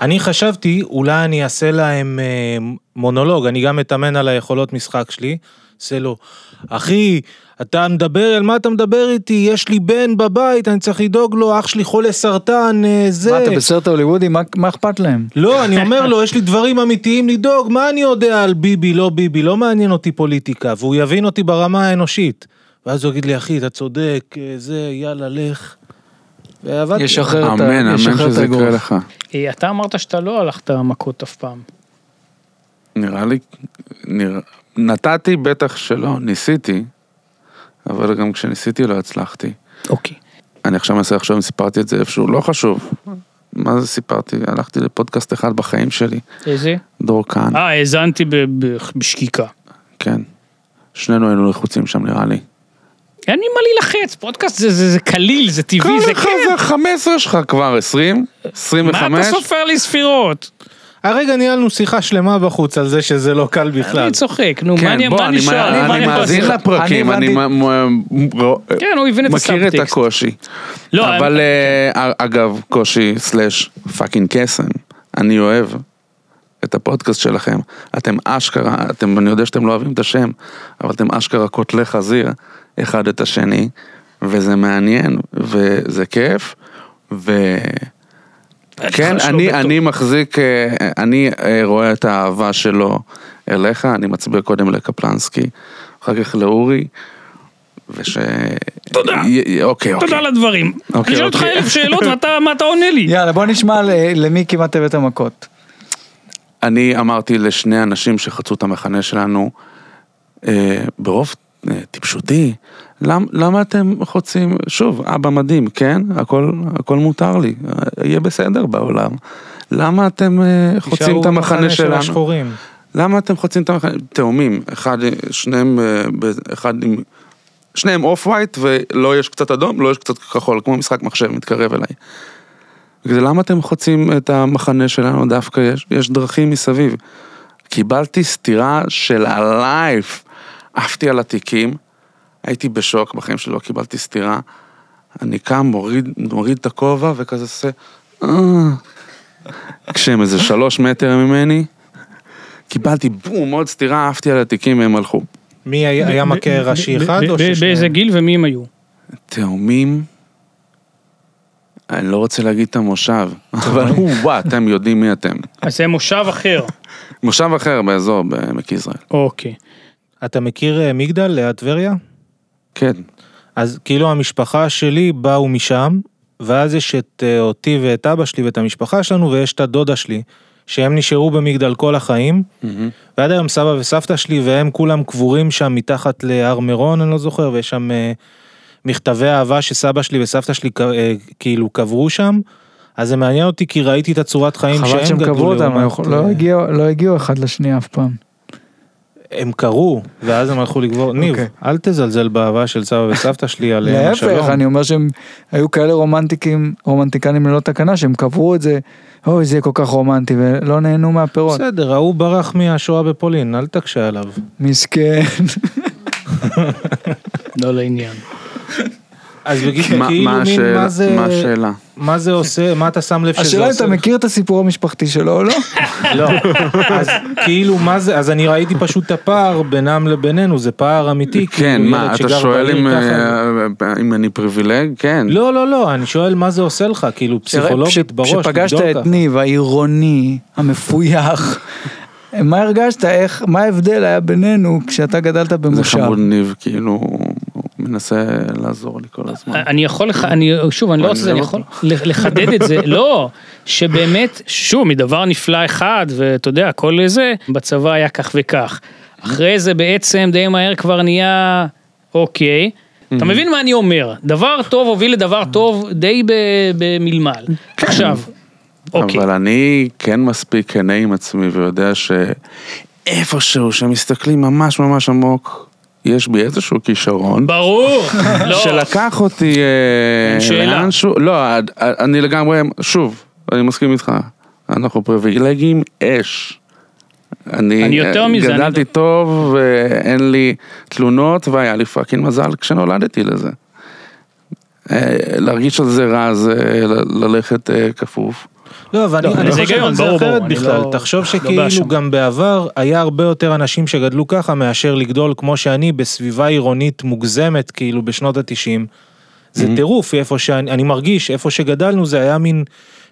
אני חשבתי, אולי אני אעשה להם אה, מונולוג, אני גם מתאמן על היכולות משחק שלי. עושה לו, אחי, אתה מדבר, על מה אתה מדבר איתי? יש לי בן בבית, אני צריך לדאוג לו, אח שלי חולה סרטן, אה, זה.
מה, אתה בסרט ההוליוודי? מה- מה אכפת להם?
לא, אני אומר לו, יש לי דברים אמיתיים לדאוג, מה אני יודע על ביבי, לא ביבי, לא מעניין אותי פוליטיקה, והוא יבין אותי ברמה האנושית. ואז הוא יגיד לי, אחי, אתה צודק, אה, זה, יאללה, לך. ועבדתי.
ישחרר את ה-
אמן, אמן
ישחרר את
שזה יקרה
הגרוף.
לך.
אה, אתה אמרת שאתה לא הלכת מכות אף פעם.
נראה לי, נרא... נתתי בטח שלא, ניסיתי, אבל גם כשניסיתי לא הצלחתי.
אוקיי.
אני עכשיו מנסה לחשוב אם סיפרתי את זה איפשהו, לא חשוב. מה זה סיפרתי? הלכתי לפודקאסט אחד בחיים שלי,
איזה?
דור כהן,
אה, האזנתי ב- ב- בשקיקה.
כן. שנינו היינו לחוצים שם נראה לי.
אין לי מה להילחץ, פודקאסט זה- זה זה קליל, זה טבעי,
כל
זה
אחד
כיף.
זה 15 שלך כבר, 20,
מה
25.
אתה סופר לי ספירות?
הרגע אה, ניהלנו שיחה שלמה בחוץ על זה שזה לא קל בכלל.
אני צוחק, נו, מה
כן,
אני
בוא,
מה
אני,
נשאר?
מה-
מה
אני
יכול
מאזין
לעשות?
לפרקים,
אני
אני מ- מ- ר-
כן, הוא הבין את
מכיר את
הסאבטקסט.
הקושי.
לא,
אבל אה, אגב, קושי סלאש פאקינג קסם, אני אוהב את הפודקאסט שלכם. אתם אשכרה, אתם, אני יודע שאתם לא אוהבים את השם, אבל אתם אשכרה קוטלי חזיר אחד את השני, וזה מעניין, וזה כיף, ו...
אה,
כן,
חש לא
אני,
בטוב.
אני מחזיק, אה, אני אה, רואה את האהבה שלו אליך, אני מצביע קודם לקפלנסקי, אחר כך לאורי, וש... תודה. אוקיי, אוקיי.
תודה על הדברים. אני
אוקיי,
שואל אותך
אוקיי.
אלף שאלות ואתה מה אתה עונה לי?
יאללה, בוא נשמע ל- למי כמעט הבאת מכות.
אני אמרתי לשני אנשים שחצו את המחנה שלנו, אה, ברוב אה, טיפשותי, למ, למה אתם חוצים, שוב, אבא מדהים, כן? הכל, הכל מותר לי, אה, יהיה בסדר בעולם. למה אתם אה, חוצים את המחנה שלנו?
השחורים.
למה אתם חוצים את המחנה? תאומים, אחד, שניהם, אה, ב- אחד עם... שניהם אוף ווייט ולא יש קצת אדום, לא יש קצת כחול, כמו משחק מחשב, מתקרב אליי. זה למה אתם חוצים את המחנה שלנו דווקא? יש, יש דרכים מסביב. קיבלתי סטירה של הלייף. עפתי על התיקים, הייתי בשוק, בחיים שלי לא קיבלתי סטירה. אני קם, מוריד, מוריד את הכובע וכזה עושה... "אה". כשהם איזה שלוש מטר ממני, קיבלתי בום, עוד סטירה, עפתי על התיקים והם הלכו.
מי היה היה מכה ראשי
ב-
אחד
ב-
או
ב- באיזה
ששניהם?
גיל ומי הם היו?
תאומים, אני לא רוצה להגיד את המושב, אבל וואו, אתם יודעים מי אתם.
אז זה מושב אחר.
מושב אחר באזור בעמק יזרעאל.
אוקיי.
אתה מכיר אה, מגדל ליד טבריה?
כן,
אז כאילו המשפחה שלי באו משם, ואז יש את אה, אותי ואת אבא שלי ואת המשפחה שלנו, ויש את הדודה שלי, שהם נשארו במגדל כל החיים, ועד היום סבא וסבתא שלי והם כולם קבורים שם מתחת להר מירון, אני לא זוכר, ויש שם אה, מכתבי אהבה שסבא שלי וסבתא שלי ק- אה, כאילו קברו שם, אז זה מעניין אותי כי ראיתי את הצורת חיים שהם
חבל
גדלו.
שהם קבעו אותם,
לעומת,
לא
אה,
הגיעו- לא הגיעו אחד לשנייה אף פעם.
הם קרו, ואז הם הלכו לגבור. ניב,
אוקיי.
אל תזלזל באהבה של סבא וסבתא שלי עליהם
להפך,
אה, השלום.
אני אומר שהם היו כאלה רומנטיקים, רומנטיקנים ללא תקנה, שהם קברו את זה, אוי, זה יהיה כל כך רומנטי, ולא נהנו מהפירות.
בסדר, ההוא ברח מהשואה בפולין, אל תקשה עליו.
מסכן.
לא לעניין.
אז בגיל,
מה-
כאילו,
מה
מין,
השאלה-
מה זה,
מה השאלה?
מה זה עושה, מה אתה שם לב שזה
השאלה אם
עושה?
אתה מכיר את הסיפור המשפחתי שלו או לא?
לא. אז כאילו, מה זה, אז אני ראיתי פשוט את הפער בינם לבינינו, זה פער אמיתי.
כן,
כאילו,
מה,
ילד
אתה
שגר
שואל
בעיר
אם,
ככה-
אה, אם אני פריבילג? כן.
לא, לא, לא, אני שואל מה זה עושה לך, כאילו, פסיכולוגית בראש,
כשפגשת
לגדול
את
ככה.
ניב העירוני, המפויח, מה הרגשת, איך, מה ההבדל היה בינינו כשאתה גדלת
זה
במושב?
חמוד ניב, כאילו, הוא מנסה לעזור לי כל הזמן.
אני יכול לך, אני, שוב, אני לא
אה,
רוצה, אני יכול לחדד את זה, לא, שבאמת, שוב, מדבר נפלא אחד, ואתה יודע, כל זה, בצבא היה כך וכך. אחרי זה בעצם די מהר כבר נהיה, אוקיי.
Mm.
אתה מבין מה אני אומר, דבר טוב הוביל לדבר טוב די ב- במלמל. עכשיו, אוקיי.
אבל אני כן מספיק כנה עם עצמי ויודע שאיפשהו, שמסתכלים ממש ממש עמוק, יש בי איזשהו כישרון.
ברור, לא.
שלקח אותי... אה,
אין שאלה.
לאנשהו, לא, אה, אה, אני לגמרי, שוב, אני מסכים איתך, אנחנו פריבילגים אש. אני,
אני יותר
אה,
מזה, אני-
גדלתי טוב, ואין לי תלונות, והיה לי פאקינג מזל כשנולדתי לזה. אה, להרגיש על זה רע זה ל- ללכת אה, כפוף.
לא, אבל
לא,
אני- אני
זה
חושב
היגיון,
על זה
ברור,
אחרת
ברור, אני
בכלל.
לא-
תחשוב
לא באשם.
שכאילו גם בעבר היה הרבה יותר אנשים שגדלו ככה מאשר לגדול כמו שאני בסביבה עירונית מוגזמת, כאילו בשנות התשעים. זה טירוף איפה שאני אני מרגיש, איפה שגדלנו זה היה מין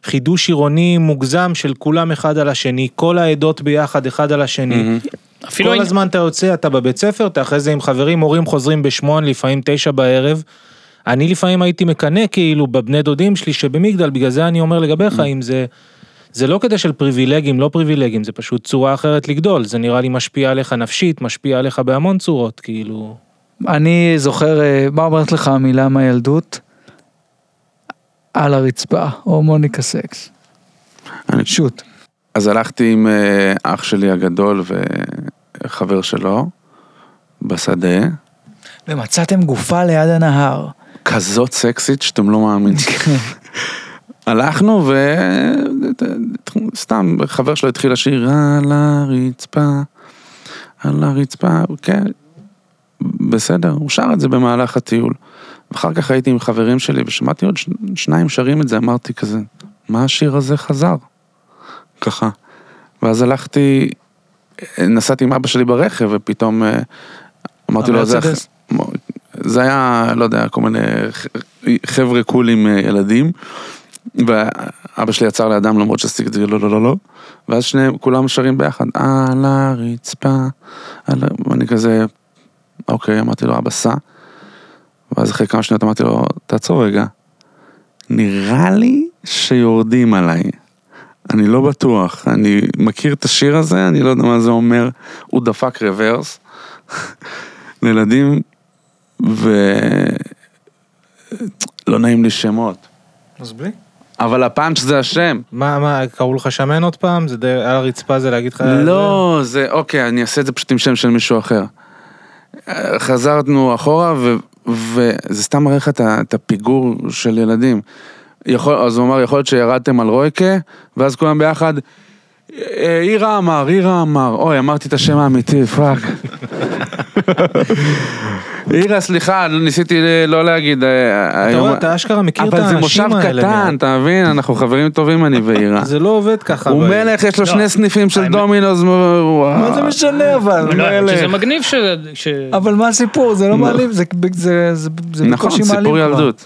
חידוש עירוני מוגזם של כולם אחד על השני, כל העדות ביחד אחד על השני.
אפילו
כל
העניין-
הזמן אתה יוצא, אתה בבית ספר, אתה אחרי זה עם חברים, הורים חוזרים בשמונה, לפעמים תשע בערב. אני לפעמים הייתי מקנא כאילו בבני דודים שלי שבמגדל, בגלל זה אני אומר
Mm.
לגביך, אם זה... זה לא קטע של פריבילגים, לא פריבילגים, זה פשוט צורה אחרת לגדול, זה נראה לי משפיע עליך נפשית, משפיע עליך בהמון צורות, כאילו...
אני זוכר, אה, מה אומרת לך המילה מהילדות? על הרצפה, הורמוניקה סקס.
אני-
שוט.
אז הלכתי עם אה, אח שלי הגדול וחבר שלו בשדה,
ומצאתם גופה ליד הנהר.
כזאת סקסית שאתם לא מאמינים. הלכנו ו... סתם, חבר שלו התחיל לשיר על הרצפה, על הרצפה, כן, בסדר, הוא שר את זה במהלך הטיול. אחר כך הייתי עם חברים שלי ושמעתי עוד ש... שניים שרים את זה, אמרתי כזה, מה השיר הזה חזר? ככה. ואז הלכתי, נסעתי עם אבא שלי ברכב ופתאום אה, אמרתי לו, "זה אח-
המרצדס?"
זה היה, לא יודע, כל מיני ח- חבר'ה קולים אה, ילדים. ואבא שלי עצר לידם למרות שעשיתי את זה, לא, לא, לא, לא. ואז שניהם, כולם שרים ביחד, על הרצפה, על... ה-" ואני כזה, אוקיי, אמרתי לו, אבא סע. ואז אחרי כמה שניות אמרתי לו, תעצור רגע. נראה לי שיורדים עליי. אני לא בטוח, אני מכיר את השיר הזה, אני לא יודע מה זה אומר. הוא דפק רוורס. לילדים, ולא לא נעים לי שמות.
אז בלי.
אבל הפאנץ' זה השם.
מה, מה, קראו לך שמן עוד פעם? זה די, על הרצפה זה להגיד לך...
לא, זה, אוקיי, אני אעשה את זה פשוט עם שם של מישהו אחר. אה, חזרנו אחורה, ו- וזה סתם מראה לך את ה- את הפיגור של ילדים. יכול, אז הוא אמר, יכול להיות שירדתם על רויקה, ואז כולם ביחד, "אה, אירה אמר, אירה אמר, אוי, אמרתי את השם האמיתי, פאק. אירה, סליחה, לא- ניסיתי אה, לא להגיד. אה,
זה... אתה
היום-
רואה, אתה אשכרה מכיר את
אבל זה
האנשים
מושב
האלה.
קטן, אתה מבין? אנחנו חברים טובים, אני ואירה.
מה? זה לא עובד ככה.
הוא
ב-
מלך, יש לו
לא.
שני סניפים של
האמת-
דומינוס.
מה
אה.
זה משנה אבל?
לא, האמת
מלך.
שזה מגניב ש... ש-
אבל מה הסיפור? זה לא מעליב, זה זה- זה- זה
נכון,
בקושי מעליב.
סיפור
כבר.
ילדות.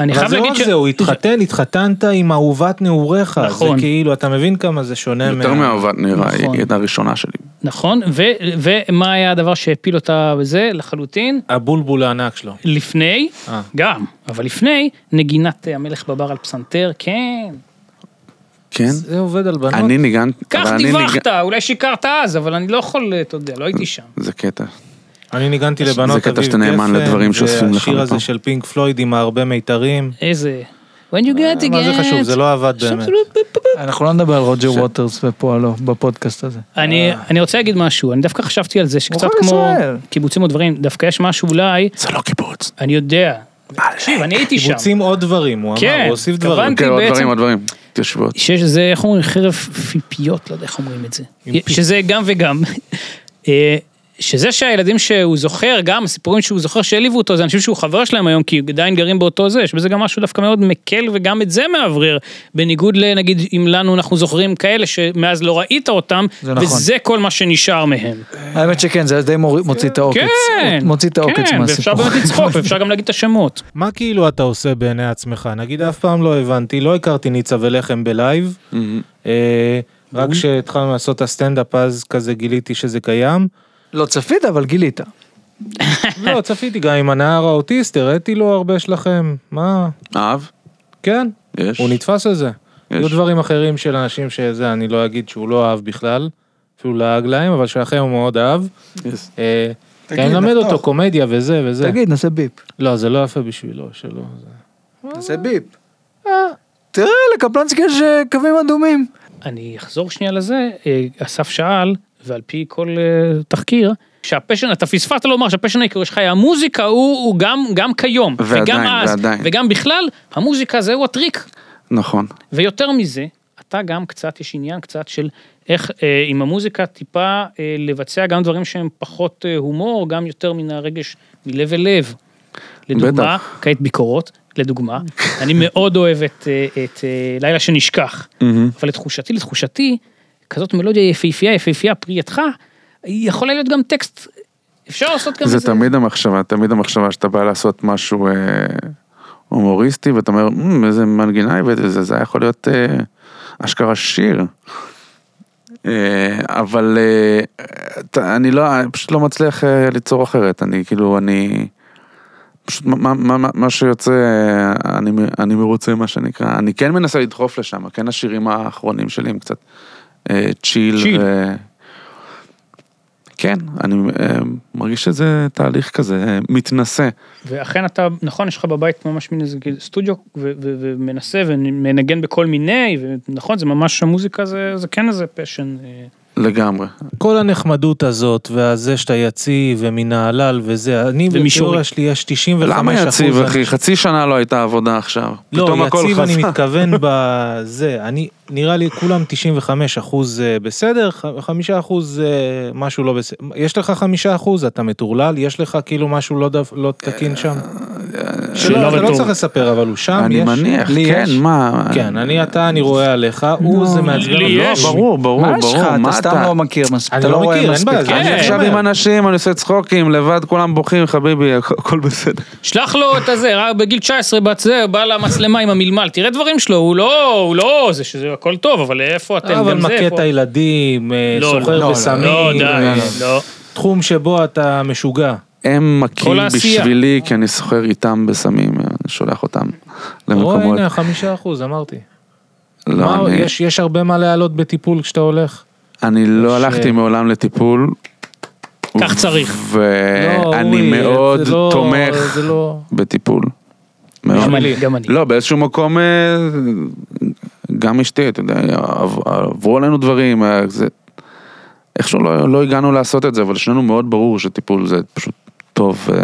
אני
אבל
חייב
זה לא
להגיד
רק זה, הוא התחתן, התחתנת עם אהובת נעוריך.
נכון.
זה כאילו, אתה מבין כמה זה שונה
יותר מאהובת נראה,
נכון.
היא הייתה הראשונה שלי.
נכון, ו- ומה היה הדבר שהפיל אותה בזה לחלוטין?
הבולבול הענק שלו.
לפני,
אה.
גם, אבל לפני, נגינת אה, המלך בבר על פסנתר, כן.
כן?
זה עובד על בנות.
אני ניגנתי.
כך
אבל אני ניג-
דיווחת, אולי שיקרת אז, אבל אני לא יכול, אה, אתה יודע, לא הייתי שם.
זה קטע.
אני ניגנתי
זה
לבנות
קטע שאתה נאמן לדברים שאוספים לך
והשיר הזה
לפה.
של פינק פלויד עם הרבה מיתרים.
איזה... When you get again.
מה אה, זה חשוב? זה לא עבד באמת.
אנחנו לא נדבר על רוג'ר ווטרס ופועלו בפודקאסט הזה.
אני,
אה.
אני רוצה להגיד משהו, אני דווקא חשבתי על זה שקצת
מוכן
כמו
ישראל.
קיבוצים או דברים, דווקא יש משהו אולי,
זה לא קיבוץ.
אני יודע,
אה,
תקשיב, אני הייתי שם,
קיבוצים עוד דברים, הוא
כן,
אמר, הוא הוסיף
התכוונתי.
דברים.
כן, עוד
בעצם-
דברים, עוד דברים. התיישבות.
שיש זה, איך אומרים, חרב פיפיות, לא יודע איך אומרים את זה,
עם פי.
שזה גם וגם, אה, שזה שהילדים שהוא זוכר, גם הסיפורים שהוא זוכר שהעליבו אותו, זה אנשים שהוא חבר שלהם היום, כי עדיין גרים באותו זה, שבזה גם משהו דווקא מאוד מקל וגם את זה מאוורר, בניגוד לנגיד אם לנו אנחנו זוכרים כאלה שמאז לא ראית אותם,
זה נכון.
וזה כל מה שנשאר מהם.
האמת שכן, זה די מוריד- מוציא את העוקץ.
כן,
מוציא את העוקץ
כן,
מהסיפור.
ואפשר באמת לצחוק, ואפשר גם להגיד את השמות.
מה כאילו אתה עושה בעיני עצמך? נגיד אף פעם לא הבנתי, לא הכרתי ניצה ולחם בלייב, אה, רק כשהתחלנו לעשות את הסטנדאפ אז כזה גיליתי שזה קיים.
לא צפית, אבל גילית.
לא, צפיתי גם עם הנער האוטיסט, הראיתי לו הרבה שלכם, מה?
אהב?
כן,
יש.
הוא נתפס על זה.
יש.
היו דברים אחרים של אנשים שזה, אני לא אגיד שהוא לא אהב בכלל, אפילו לעג להם, אבל שלכם הוא מאוד אהב.
Yes.
אה, כי אני מלמד אותו קומדיה וזה וזה.
תגיד, נעשה ביפ.
לא, זה לא יפה בשבילו, שלא. זה-
נעשה ביפ. אה, תראה, לקפלנסקי יש אה, קווים אדומים.
אני אחזור שנייה לזה, אה, אסף שאל, ועל פי כל אה, תחקיר, שהפשן, אתה פספסת לומר שהפשן העיקרי שלך היה המוזיקה, הוא, הוא גם, גם כיום,
ועדיין,
וגם אז,
ועדיין.
וגם בכלל, המוזיקה זהו הטריק.
נכון.
ויותר מזה, אתה גם קצת, יש עניין קצת של איך אה, עם המוזיקה טיפה אה, לבצע גם דברים שהם פחות אה, הומור, גם יותר מן הרגש מלב אל לב. לדוגמה, כעת ביקורות, לדוגמה, אני מאוד אוהב את, אה, את אה, לילה שנשכח, אבל לתחושתי, לתחושתי, כזאת מלודיה יפהפייה, יפהפייה פרי ידך, יכולה להיות גם טקסט, אפשר לעשות גם
זה
איזה-
תמיד המחשבה, תמיד המחשבה שאתה בא לעשות משהו אה, הומוריסטי, ואתה אומר, "מ, איזה מנגינה הבאתי לזה, זה היה יכול להיות אה, אשכרה שיר. אה, אבל אה, אתה- אני לא, אני פשוט לא מצליח אה, ליצור אחרת, אני כאילו, אני... פשוט מה- מה, מה, מה, מה שיוצא, אה, אני, מ- אני מרוצה מה שנקרא, אני כן מנסה לדחוף לשם, כן השירים האחרונים שלי הם קצת אה, צ'יל.
צ'יל.
ו... כן, אני אה, מרגיש שזה תהליך כזה אה, מתנשא.
ואכן אתה, נכון, יש לך בבית ממש מין איזה כאילו סטודיו ו- ו- ומנסה ומנגן בכל מיני, ונכון, זה ממש המוזיקה זה, זה כן איזה פשן. אה,
לגמרי.
כל הנחמדות הזאת, והזה שאתה יציב, ומנהלל וזה, אני
ומישורי.
בתיאוריה שלי יש 95
למה יציב אחי? חצי שנה לא הייתה עבודה עכשיו.
לא,
פתאום הכל
יציב אני
חזר.
מתכוון בזה, אני, נראה לי כולם 95 אחוז אה, בסדר, ח- חמישה אחוז אה, משהו לא בסדר, יש לך חמישה אחוז, אתה מטורלל, יש לך כאילו משהו לא, דו, לא תקין שם?
שאלה
שלא, אתה לא
רטורית.
צריך לספר, אבל הוא שם,
אה, אני
יש.
מניח,
לי
כן,
יש.
מה? אה,
כן, אני, אתה, אני רואה עליך, הוא זה מעצבן.
לי
אותי.
לא,
יש.
ברור, ברור,
מה יש לך?
ברור,
אתה
מה
סתם
אתה?
לא מכיר מספיק.
אני
אתה
לא
לא רואה
מכיר, אין
מספיק.
בעיה, זה
כן.
אני עכשיו עם אנשים, אני עושה צחוקים, לבד כולם בוכים, חביבי, הכ- הכל בסדר.
שלח לו את הזה, רק בגיל 19 בת זה, בא למצלמה עם המלמל, תראה דברים שלו, הוא לא, הוא לא, זה שזה הכל טוב, אבל איפה אתם,
אבל
גם זה,
מכה
איפה...
את הילדים, אה,
לא, לא,
סוחר
לא,
בסמים,
לא, די,
אה,
לא.
תחום שבו אתה משוגע.
הם מכים
כל העשייה.
בשבילי, כי אני סוחר איתם בסמים, אני שולח אותם
או
למקומות.
הנה, חמישה אחוז, אמרתי. מה,
לא, אני-
יש- יש הרבה מה להעלות בטיפול כשאתה הולך.
אני לא
יש,
הלכתי
אה,
מעולם לטיפול.
כך צריך.
לא,
ואני
אורי,
מאוד
זה לא-
תומך
זה לא...
בטיפול. מאוד.
גם אני, גם אני.
לא, באיזשהו מקום, אה, גם אשתי, אתה יודע, עב- עברו עלינו דברים, אה, זה... איכשהו לא, לא הגענו לעשות את זה, אבל שנינו מאוד ברור שטיפול זה פשוט טוב, אה,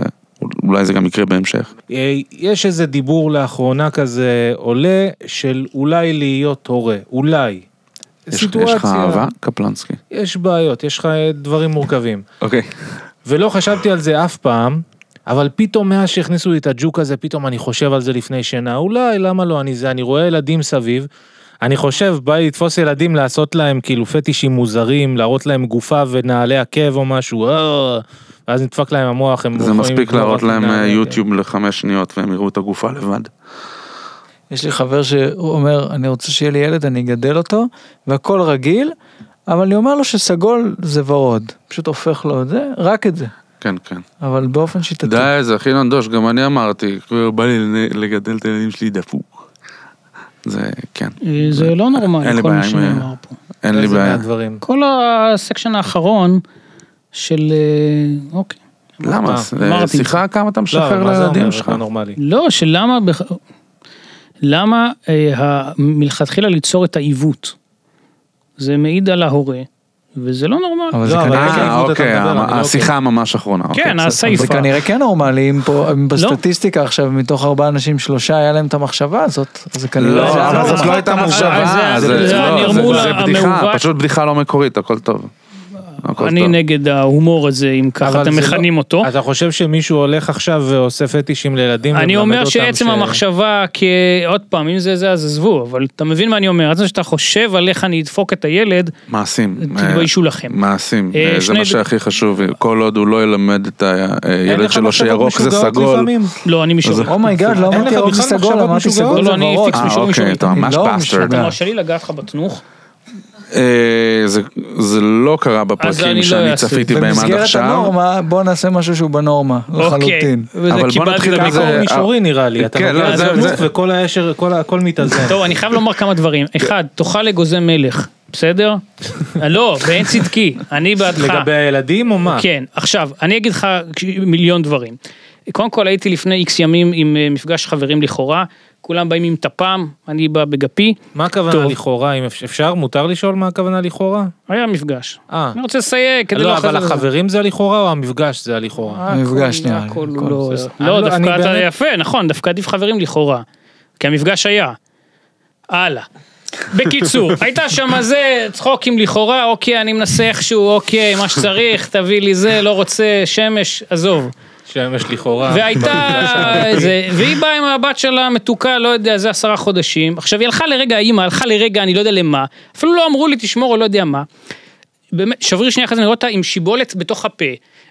אולי זה גם יקרה בהמשך.
אה, יש איזה דיבור לאחרונה כזה עולה, של אולי להיות הורה, אולי.
יש, יש לך אהבה? קפלנסקי.
יש בעיות, יש לך אה, דברים מורכבים.
אוקיי.
ולא חשבתי על זה אף פעם, אבל פתאום מאז שהכניסו לי את הג'וק הזה, פתאום אני חושב על זה לפני שינה, אולי, למה לא, אני זה, אני רואה ילדים סביב, אני חושב, בא לי לתפוס ילדים, לעשות להם כאילו פטישים מוזרים, להראות להם גופה ונעלי עקב או משהו, אה, ואז נדפק להם המוח, הם
זה
יכולים
מספיק
לקרוא
להראות
רק
להם
נעלי
אה,
עקב.
יוטיוב לחמש שניות והם יראו את הגופה לבד.
יש לי חבר שאומר, אני רוצה שיהיה לי ילד, אני אגדל אותו, והכל רגיל, אבל אני אומר לו שסגול זה ורוד. פשוט הופך לו את זה, רק את זה.
כן, כן.
אבל באופן שיטתי.
די, זה הכי נדוש, גם אני אמרתי, כאילו, בא לי לגדל את הילדים שלי דפוק. זה, כן,
אה, זה לא
אין
נורמלי,
לי
כל מה
בעיה עם, אה,
שנאמר פה.
אין לי
זה
בעיה.
מהדברים.
כל הסקשן האחרון של, אה, אוקיי.
למה?
אה,
זה
אמרתי.
שיחה כמה אתה
לא,
משחרר
אבל מה זה אומר?
לילדים
זה
שלך.
לא נורמלי.
לא, שלמה, בח- למה אה, ה- מלכתחילה ליצור את העיוות? זה מעיד על ההורה, וזה לא נורמלי.
אבל זה
לא, אבל
כנראה-
יש לי
אה,
עיוות, אתה
אוקיי,
מדבר,
המ-
אני לא-
השיחה ממש האחרונה. אוקיי,
כן,
בסדר.
הסעיף.
זה
חיפה.
כנראה כן נורמלי, אם פה, אם בסטטיסטיקה עכשיו, מתוך ארבעה אנשים, שלושה, היה להם את המחשבה הזאת, אז זה
כן,
כנראה...
לא,
זה היה
אבל
נורמלי.
זאת
נכון.
לא הייתה מחשבה,
אה, זה-
זה
זה
לא,
הנרמול
זה- זה בדיחה,
המעוות.
פשוט בדיחה לא מקורית, הכל טוב. הכל
אני
טוב.
נגד ההומור הזה, אם
אבל
ככה אתם
זה
מכנים
לא-
אותו.
אתה חושב שמישהו הולך עכשיו ועושה פטישים לילדים?
אני
ומלמד
אומר
אותם
שעצם
ש-
המחשבה, כ- עוד פעם, אם זה זה, אז עזבו, אבל אתה מבין מה אני אומר, עצם שאתה חושב על איך אני אדפוק את הילד,
מעשים. אה,
תתביישו לכם.
מעשים,
אה,
אה, זה
שני-
מה שהכי חשוב, כל עוד הוא לא ילמד את
אין
הילד
לך
שלו
מחשבות
שירוק זה
משוגעות
סגול.
לפעמים?
לא, אני משורר.
אומייגאד, לא
אין
אמרתי
לך
ארוך
בכלל
מסגול,
מחשבות
אמרתי
משוגעות?
סגול
לא,
זה
לא, אני
ורוד.
פיקס
כאילו- אה,
משורר
אוקיי,
משורר.
אתה ממש
לא,
בסטרד.
משוגע.
אתה מרשה לי לגעת לך בתנוך?
אה, זה- זה לא קרה
אני
בפרקים
לא
שאני
אעשה.
צפיתי בהם עד
במסגרת
עכשיו.
הנורמה, בוא נעשה משהו שהוא בנורמה, לחלוטין.
אוקיי, וזה
אבל בוא
קיבלתי
נתחיל
את
עם
הביקורת.
זה-
זה מישורי נראה לי, אתה
כן, לא,
מגיע
זה-
לגוף
זה-
וכל הישר, כל ה- הכל מתאזן.
טוב, אני חייב לומר כמה דברים.
כן.
אחד, תאכל אגוזי מלך, בסדר? לא, ואין צדקי, אני בעדך.
לגבי הילדים או מה?
כן, עכשיו, אני אגיד לך כש- מיליון דברים. קודם כל הייתי לפני איקס ימים עם אה, מפגש חברים לכאורה, כולם באים עם טפם, אני בא בגפי,
מה הכוונה
טוב.
לכאורה, אם אפ- אפשר, מותר לשאול מה הכוונה לכאורה?
היה מפגש.
אה,
אני רוצה לסייג, כדי
לא,
אחרי
אבל
זה- אה.
החברים זה הלכאורה או המפגש זה הלכאורה?
הכל-
המפגש נראה לי,
הכל
הכל
לא,
בסדר.
לא,
אני לא- אני
דווקא אתה
באמת-
יפה, נכון, דווקא עדיף חברים לכאורה. כי המפגש היה. הלאה. בקיצור, הייתה שם זה, צחוקים לכאורה, אוקיי, אני מנסה איכשהו, אוקיי, מה שצריך, תביא לי זה, לא רוצה, שמש, עזוב.
שמש לכאורה.
והייתה, זה, והיא באה עם הבת שלה מתוקה, לא יודע, זה עשרה חודשים. עכשיו היא הלכה לרגע, האימא הלכה לרגע, אני לא יודע למה. אפילו לא אמרו לי, תשמור או לא יודע מה. באמת, שבריר שנייה אחת אני רואה אותה עם שיבולת בתוך הפה,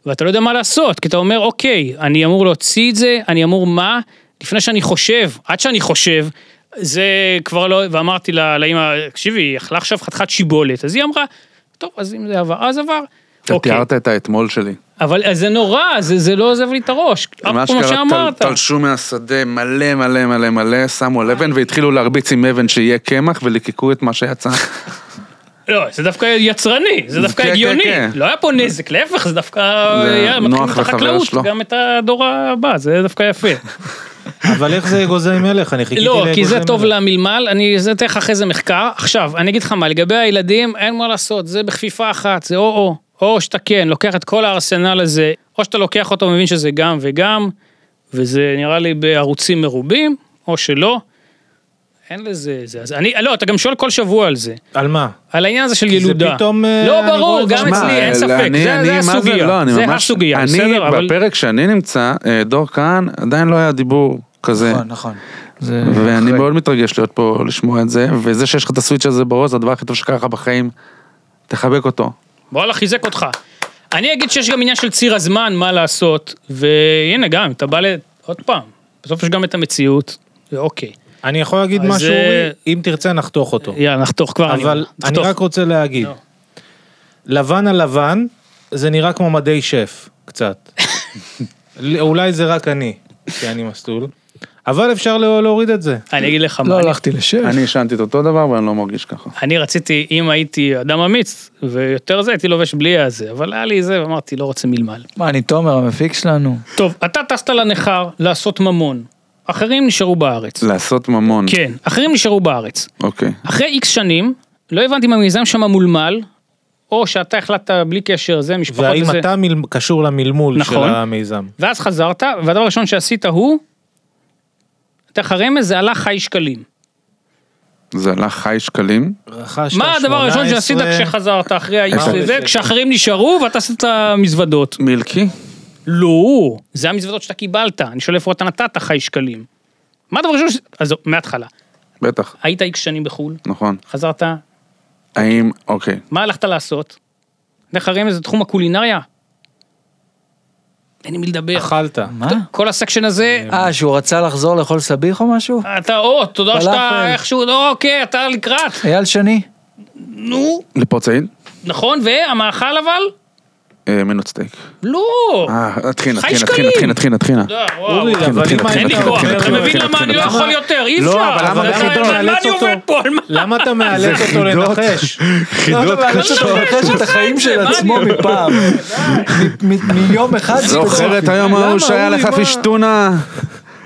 ואתה לא יודע מה לעשות, כי אתה אומר, אוקיי, אני אמור להוציא את זה, אני אמור מה? לפני שאני חושב, עד שאני חושב, זה כבר לא, ואמרתי לה, לאמא, תקשיבי, היא אכלה עכשיו חתיכת שיבולת, אז היא אמרה, טוב, אז אם זה עבר, אז עבר. אוקיי.
אתה תיארת את האתמול שלי.
אבל אז זה נורא, זה, זה לא עוזב לי את הראש,
מה
אף כמו
שקרה,
שאמרת.
טל- תלשו מהשדה מלא מלא מלא מלא, שמו על אבן והתחילו להרביץ עם אבן שיהיה קמח וליקקו את מה שיצא.
לא, זה דווקא יצרני, זה דווקא
כן, כן,
הגיוני.
כן.
לא היה פה נזק, להפך, זה דווקא... אה,
זה
היה מתחילים
נוח
את
לחבר
החקלאות,
שלו.
גם את הדור הבא, זה דווקא יפה.
אבל איך זה אגוזי מלך? אני חיכיתי
לא, כי זה
לאגוזי
טוב
מלך.
למלמל, אני זה אתן לך אחרי זה מחקר. עכשיו, אני אגיד לך מה, לגבי הילדים, אין מה לעשות, זה בכפיפה אחת, זה או-או. או שאתה כן, לוקח את כל הארסנל הזה, או שאתה לוקח אותו ומבין שזה גם וגם, וזה נראה לי בערוצים מרובים, או שלא. אין לזה, זה, אז אני, לא, אתה גם שואל כל שבוע על זה.
על מה?
על העניין הזה של
כי זה
ילודה.
פתאום, אה,
לא
אני רואה
ברור,
את
גם
זה.
אצלי, אין
שמע, אה,
ספק,
אני-
זה-
אני-
זה
מה לא,
הסוגיה,
אני
זה
ממש-
הסוגיה,
אני,
בסדר, אבל...
בפרק שאני נמצא, אה, דור כהן, עדיין לא היה דיבור כזה.
נכון, נכון. זה-
ואני מאוד מתרגש להיות פה, לשמוע את זה, וזה שיש לך את הסוויץ' הזה בראש, זה הדבר הכי טוב שקרה לך בחיים. תחבק אותו.
וואלה, חיזק אותך. אני אגיד שיש גם עניין של ציר הזמן, מה לעשות, והנה גם, אתה בא ל... עוד פעם, בסוף יש גם את המציאות, אוקיי. ואוקיי.
אני יכול להגיד
אז אה,
משהו,
זה-
אורי? אם תרצה נחתוך אותו.
יאללה, נחתוך כבר, אני-
אבל אני
נחתוך.
רק רוצה להגיד, לבן על לבן, זה נראה כמו מדי שף, קצת. לא- אולי זה רק אני, כי אני מסטול, אבל אפשר לא- להוריד את זה.
אני אגיד לך מה,
לא
אני-
הלכתי לשף.
אני עישנתי את אותו דבר ואני לא מרגיש ככה.
אני רציתי, אם הייתי אדם אמיץ, ויותר זה, הייתי לובש בלי הזה, אבל היה לי זה, ואמרתי, לא רוצה מלמל.
מה, אני תומר המפיק שלנו?
טוב, אתה טסת לנכר לעשות ממון, אחרים נשארו בארץ.
לעשות ממון.
כן, אחרים נשארו בארץ.
אוקיי.
אחרי איקס שנים, לא הבנתי אם המיזם שם מולמל, או שאתה החלטת בלי קשר, זה משפחות
והאם
וזה.
אתה מל- קשור למלמול של
נכון.
המיזם?
ואז חזרת, והדבר הראשון שעשית הוא, אתה לך רמז, זה עלה חי שקלים.
זה עלה חי שקלים.
רכשת
מה הדבר הראשון
18,
שעשית כשחזרת אחרי האיקס
אחד.
הזה, כשאחרים נשארו ואתה עשית מזוודות.
מילקי?
לא, זה המזוודות שאתה קיבלת, אני שואל איפה אתה נתת חי שקלים. מה הדבר הראשון ש... אז מההתחלה,
בטח,
היית איקס שנים בחו"ל,
נכון.
חזרת,
האם, אוקיי.
מה הלכת לעשות? לך רמז זה תחום הקולינריה? אין עם מי לדבר.
אכלת.
מה?
כל הסקשן הזה,
אה, שהוא רצה לחזור לאכול סביח או משהו?
אתה או, תודה שאתה
אה, פלאפל.
איכשהו, לא, אוקיי, אתה לקראת.
אייל שני?
נו,
לפורצאית?
נכון, והמאכל אבל?
אה, מנות סטייק.
לא.
אה, נתחיל,
חי
נתחיל,
שקלים.
נתחיל, נתחיל, נתחיל, נתחיל.
לא, וואו.
אורי, אבל
נתחיל,
אם
נתחיל,
אין לי
אני-
נתחיל,
כוח,
נתחיל,
אתה
נתחיל,
מבין למה אני לא
נתחיל.
יכול יותר, אי אפשר.
לא, אבל למה
אתה
זה
יודע,
חידות?
על מה לא, אני עובד פה? על מה?
למה אתה מאלץ אותו
חידות.
לנחש?
חידות
קשה
לא,
שהוא
לא,
מנחש את
לא,
החיים
לא,
של
לא,
עצמו
לא,
מפעם. מ- מ- מיום אחד
זוכר את היום ההוא שהיה לך פשטונה?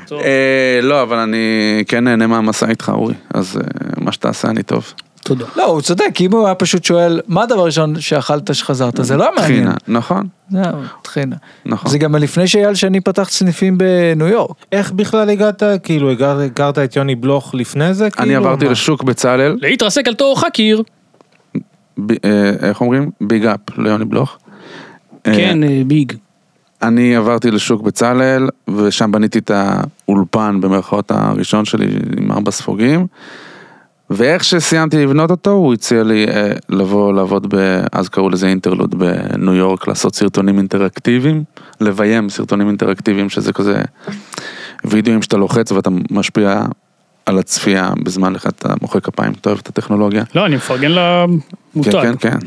טוב.
אה, לא, אבל אני כן נהנה מהמסע איתך, אורי. אז אה, מה שתעשה, אני טוב.
תודה.
לא, הוא צודק, כי אם הוא היה פשוט שואל, מה הדבר הראשון שאכלת שחזרת? זה לא היה מעניין.
טחינה, נכון.
זהו, טחינה.
נכון.
זה גם לפני שאייל שני פתח סניפים בניו יורק.
איך בכלל הגעת? כאילו, הגר- הכרת את יוני בלוך לפני זה?
אני
כאילו,
עברתי
מה?
לשוק בצלאל,
להתרסק על תור חקיר.
ב- אה, איך אומרים? ביג אפ ליוני בלוך. אה,
כן, אה, ביג.
אני עברתי לשוק בצלאל, ושם בניתי את האולפן במרכאות הראשון שלי עם ארבע ספוגים. ואיך שסיימתי לבנות אותו, הוא הציע לי אה, לבוא לעבוד, ב, אז קראו לזה אינטרלוד בניו יורק, לעשות סרטונים אינטראקטיביים, לביים סרטונים אינטראקטיביים, שזה כזה וידאוים שאתה לוחץ ואתה משפיע על הצפייה בזמן לך, אתה מוחא כפיים, אתה אוהב את הטכנולוגיה.
לא, אני מפרגן למותג.
כן, כן, כן.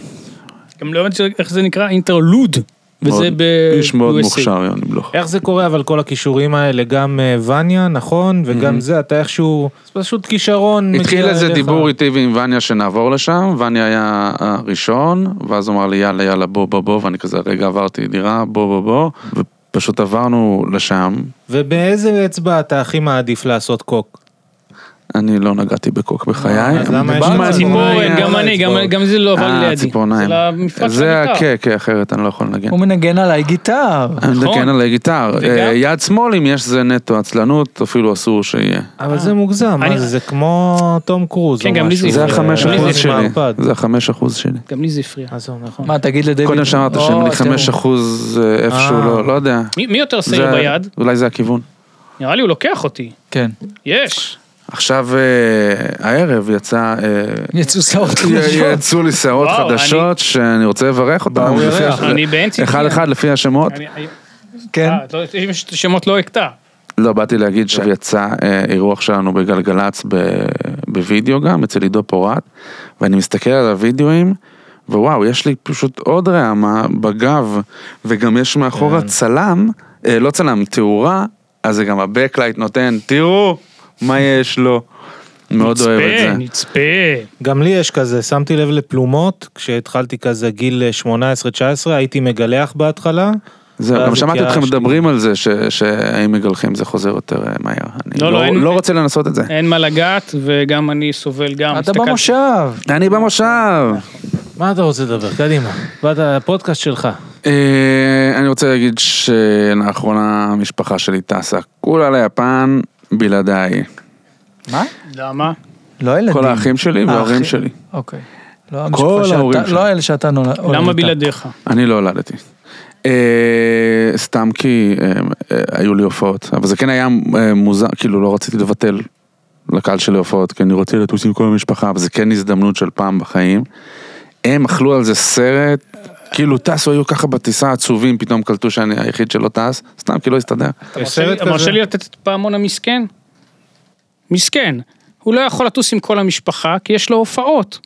גם לא הבנתי איך זה נקרא אינטרלוד. וזה
מאוד-
ב...
איש מאוד
USA.
מוכשר, יוני בלוך.
איך זה קורה אבל כל הכישורים האלה, גם אה, וניה, נכון? וגם זה, אתה איכשהו, זה פשוט כישרון מגיע
Mm-hmm. התחיל איזה
אליך.
דיבור איתי ועם וניה שנעבור לשם, וניה היה הראשון, ואז הוא אמר לי יאללה יאללה בוא בוא בוא, ואני כזה רגע עברתי דירה בוא בוא בוא, ופשוט עברנו לשם,
ובאיזה אצבע אתה הכי מעדיף לעשות קוק?
אני לא נגעתי בקוק
אה,
בחיי.
אז למה יש
דיברנו
לך
על ציפורניים.
ציפורן, גם אני, גם- גם זה לא עבר לי
אה,
לידי.
ציפורניים.
זה למפרץ
זה
הבית"ר.
כן, כן, אחרת אני לא יכול לנגן.
הוא מנגן עליי גיטר.
אני
נכון.
מנגן על גיטר.
וגם-
אה, יד שמאל, אם יש זה נטו עצלנות, אפילו אסור שיהיה.
אבל זה מוגזם,
אני-
מה זה, זה כמו תום קרוז
כן,
או
גם לי זה
משהו.
זה
אה,
החמש
אבל
אה,
אחוז
זה
שלי.
מהמרפד.
זה החמש אחוז שלי.
גם לי זה הפריע.
אז זהו, נכון.
מה, תגיד לדויד.
קודם שאמרת
או,
שהם לי
אתם-
חמש אחוז אה, איפשהו,
אה.
לא- לא יודע.
מי מי יותר
זה-
שעיר ביד?
אולי זה הכיוון.
נראה לי הוא לוקח אותי.
כן.
יש.
עכשיו אה, הערב יצא... אה,
יצאו סעות
י-
חדשות.
יצאו לי שערות
וואו,
חדשות שאני רוצה לברך אותם.
ברור,
לפי
ירח.
הש-
אני באמצע.
אה, אחד אחד לפי השמות.
אני- אני-
כן.
אה, אתה יודע, אם יש את השמות לא אקטע.
לא, באתי להגיד
כן.
שיצא אה, אירוח שלנו בגלגלצ ב- בווידאו גם, אצל עידו פורט, ואני מסתכל על הווידאוים, ווואו, יש לי פשוט עוד רעמה בגב, וגם יש מאחורה
כן.
צלם, אה, לא צלם, תאורה, אז זה גם ה-Backlight נותן, תראו מה יש לו. מאוד אוהב את זה.
נצפה, נצפה.
גם לי יש כזה, שמתי לב לפלומות, כשהתחלתי כזה גיל אה, 18-19, הייתי מגלח בהתחלה.
זהו,
ואז
גם שמעתי אתכם
התייאשתי.
מדברים על זה, ש- שהאם מגלחים זה חוזר יותר אה, מהר. אני
לא, לא,
לא-
אין-
לא רוצה לנסות את זה.
אין מה לגעת, וגם אני סובל גם.
אתה
הסתכלתי-
במושב.
אני במושב.
מה אתה רוצה לדבר? קדימה. באת הפודקאסט שלך.
אה, אני רוצה להגיד שלאחרונה המשפחה שלי טסה כולה ליפן בלעדיי.
מה?
למה?
לא ילדים.
כל האחים שלי וההורים שלי.
אוקיי. לא המשפחה
ההורים
שאתה,
שלי.
לא אלה שאתה נולד.
למה
נולדת.
בלעדיך?
אני לא הולדתי. אה, סתם כי אה, אה, היו לי הופעות, אבל זה כן היה אה, מוזר, כאילו לא רציתי לבטל לקהל שלי הופעות, כי אני רוצה לטוס עם כל המשפחה, אבל זה כן הזדמנות של פעם בחיים. הם אכלו על זה סרט, כאילו טסו, היו ככה בטיסה עצובים, פתאום קלטו שאני היחיד שלא טס, סתם כי לא הסתדר.
יש
מרשה לי-
סרט
מרשה
כזה?
לי לתת את פעמון המסכן? מסכן. הוא לא יכול לטוס עם כל המשפחה, כי יש לו הופעות.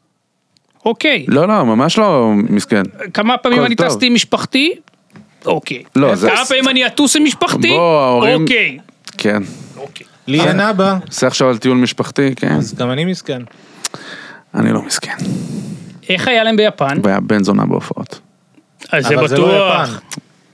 אוקיי.
לא, לא, ממש לא מסכן.
כמה פעמים
הכל
אני
טוב.
טסתי עם משפחתי? אוקיי.
לא, זה-
כמה פעמים אני אטוס עם משפחתי?
בוא, ההורים-
אוקיי.
כן.
אוקיי.
לי אין אבא.
עושה עכשיו על טיול משפחתי, כן?
אז גם אני מסכן.
אני לא מסכן.
איך היה להם ביפן?
והיה בן זונה בהופעות.
אז זה
אבל זה לא
בטוח.
יפן.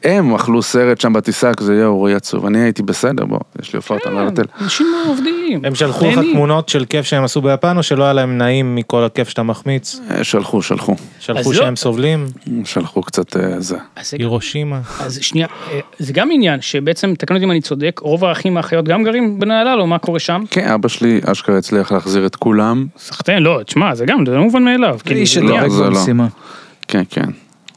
הם
הם אכלו סרט שם בטיסה, כזה יהיה אורי עצוב. אני הייתי בסדר, בוא, יש לי הופעות, אני לא
כן.
אבטל.
אנשים עובדים.
הם שלחו לך
נהנים.
תמונות של כיף שהם עשו ביפן, או שלא היה להם נעים מכל הכיף שאתה מחמיץ?
אה, שלחו, שלחו.
אז
שלחו
לא.
שהם סובלים?
שלחו קצת אה, זה.
אז זה-
הירושימה.
אז שנייה, אה, זה גם עניין שבעצם, תקנו אותי אם אני צודק, רוב האחים האחיות גם גרים בנהלל, או מה קורה שם?
כן, אבא שלי אשכרה הצליח להחזיר את כולם.
סחטיין, לא, תשמע, זה גם, זה לא מובן מאליו.
זה איש
לא,
שדבק
זה לא.
במשימה.
כן, כן.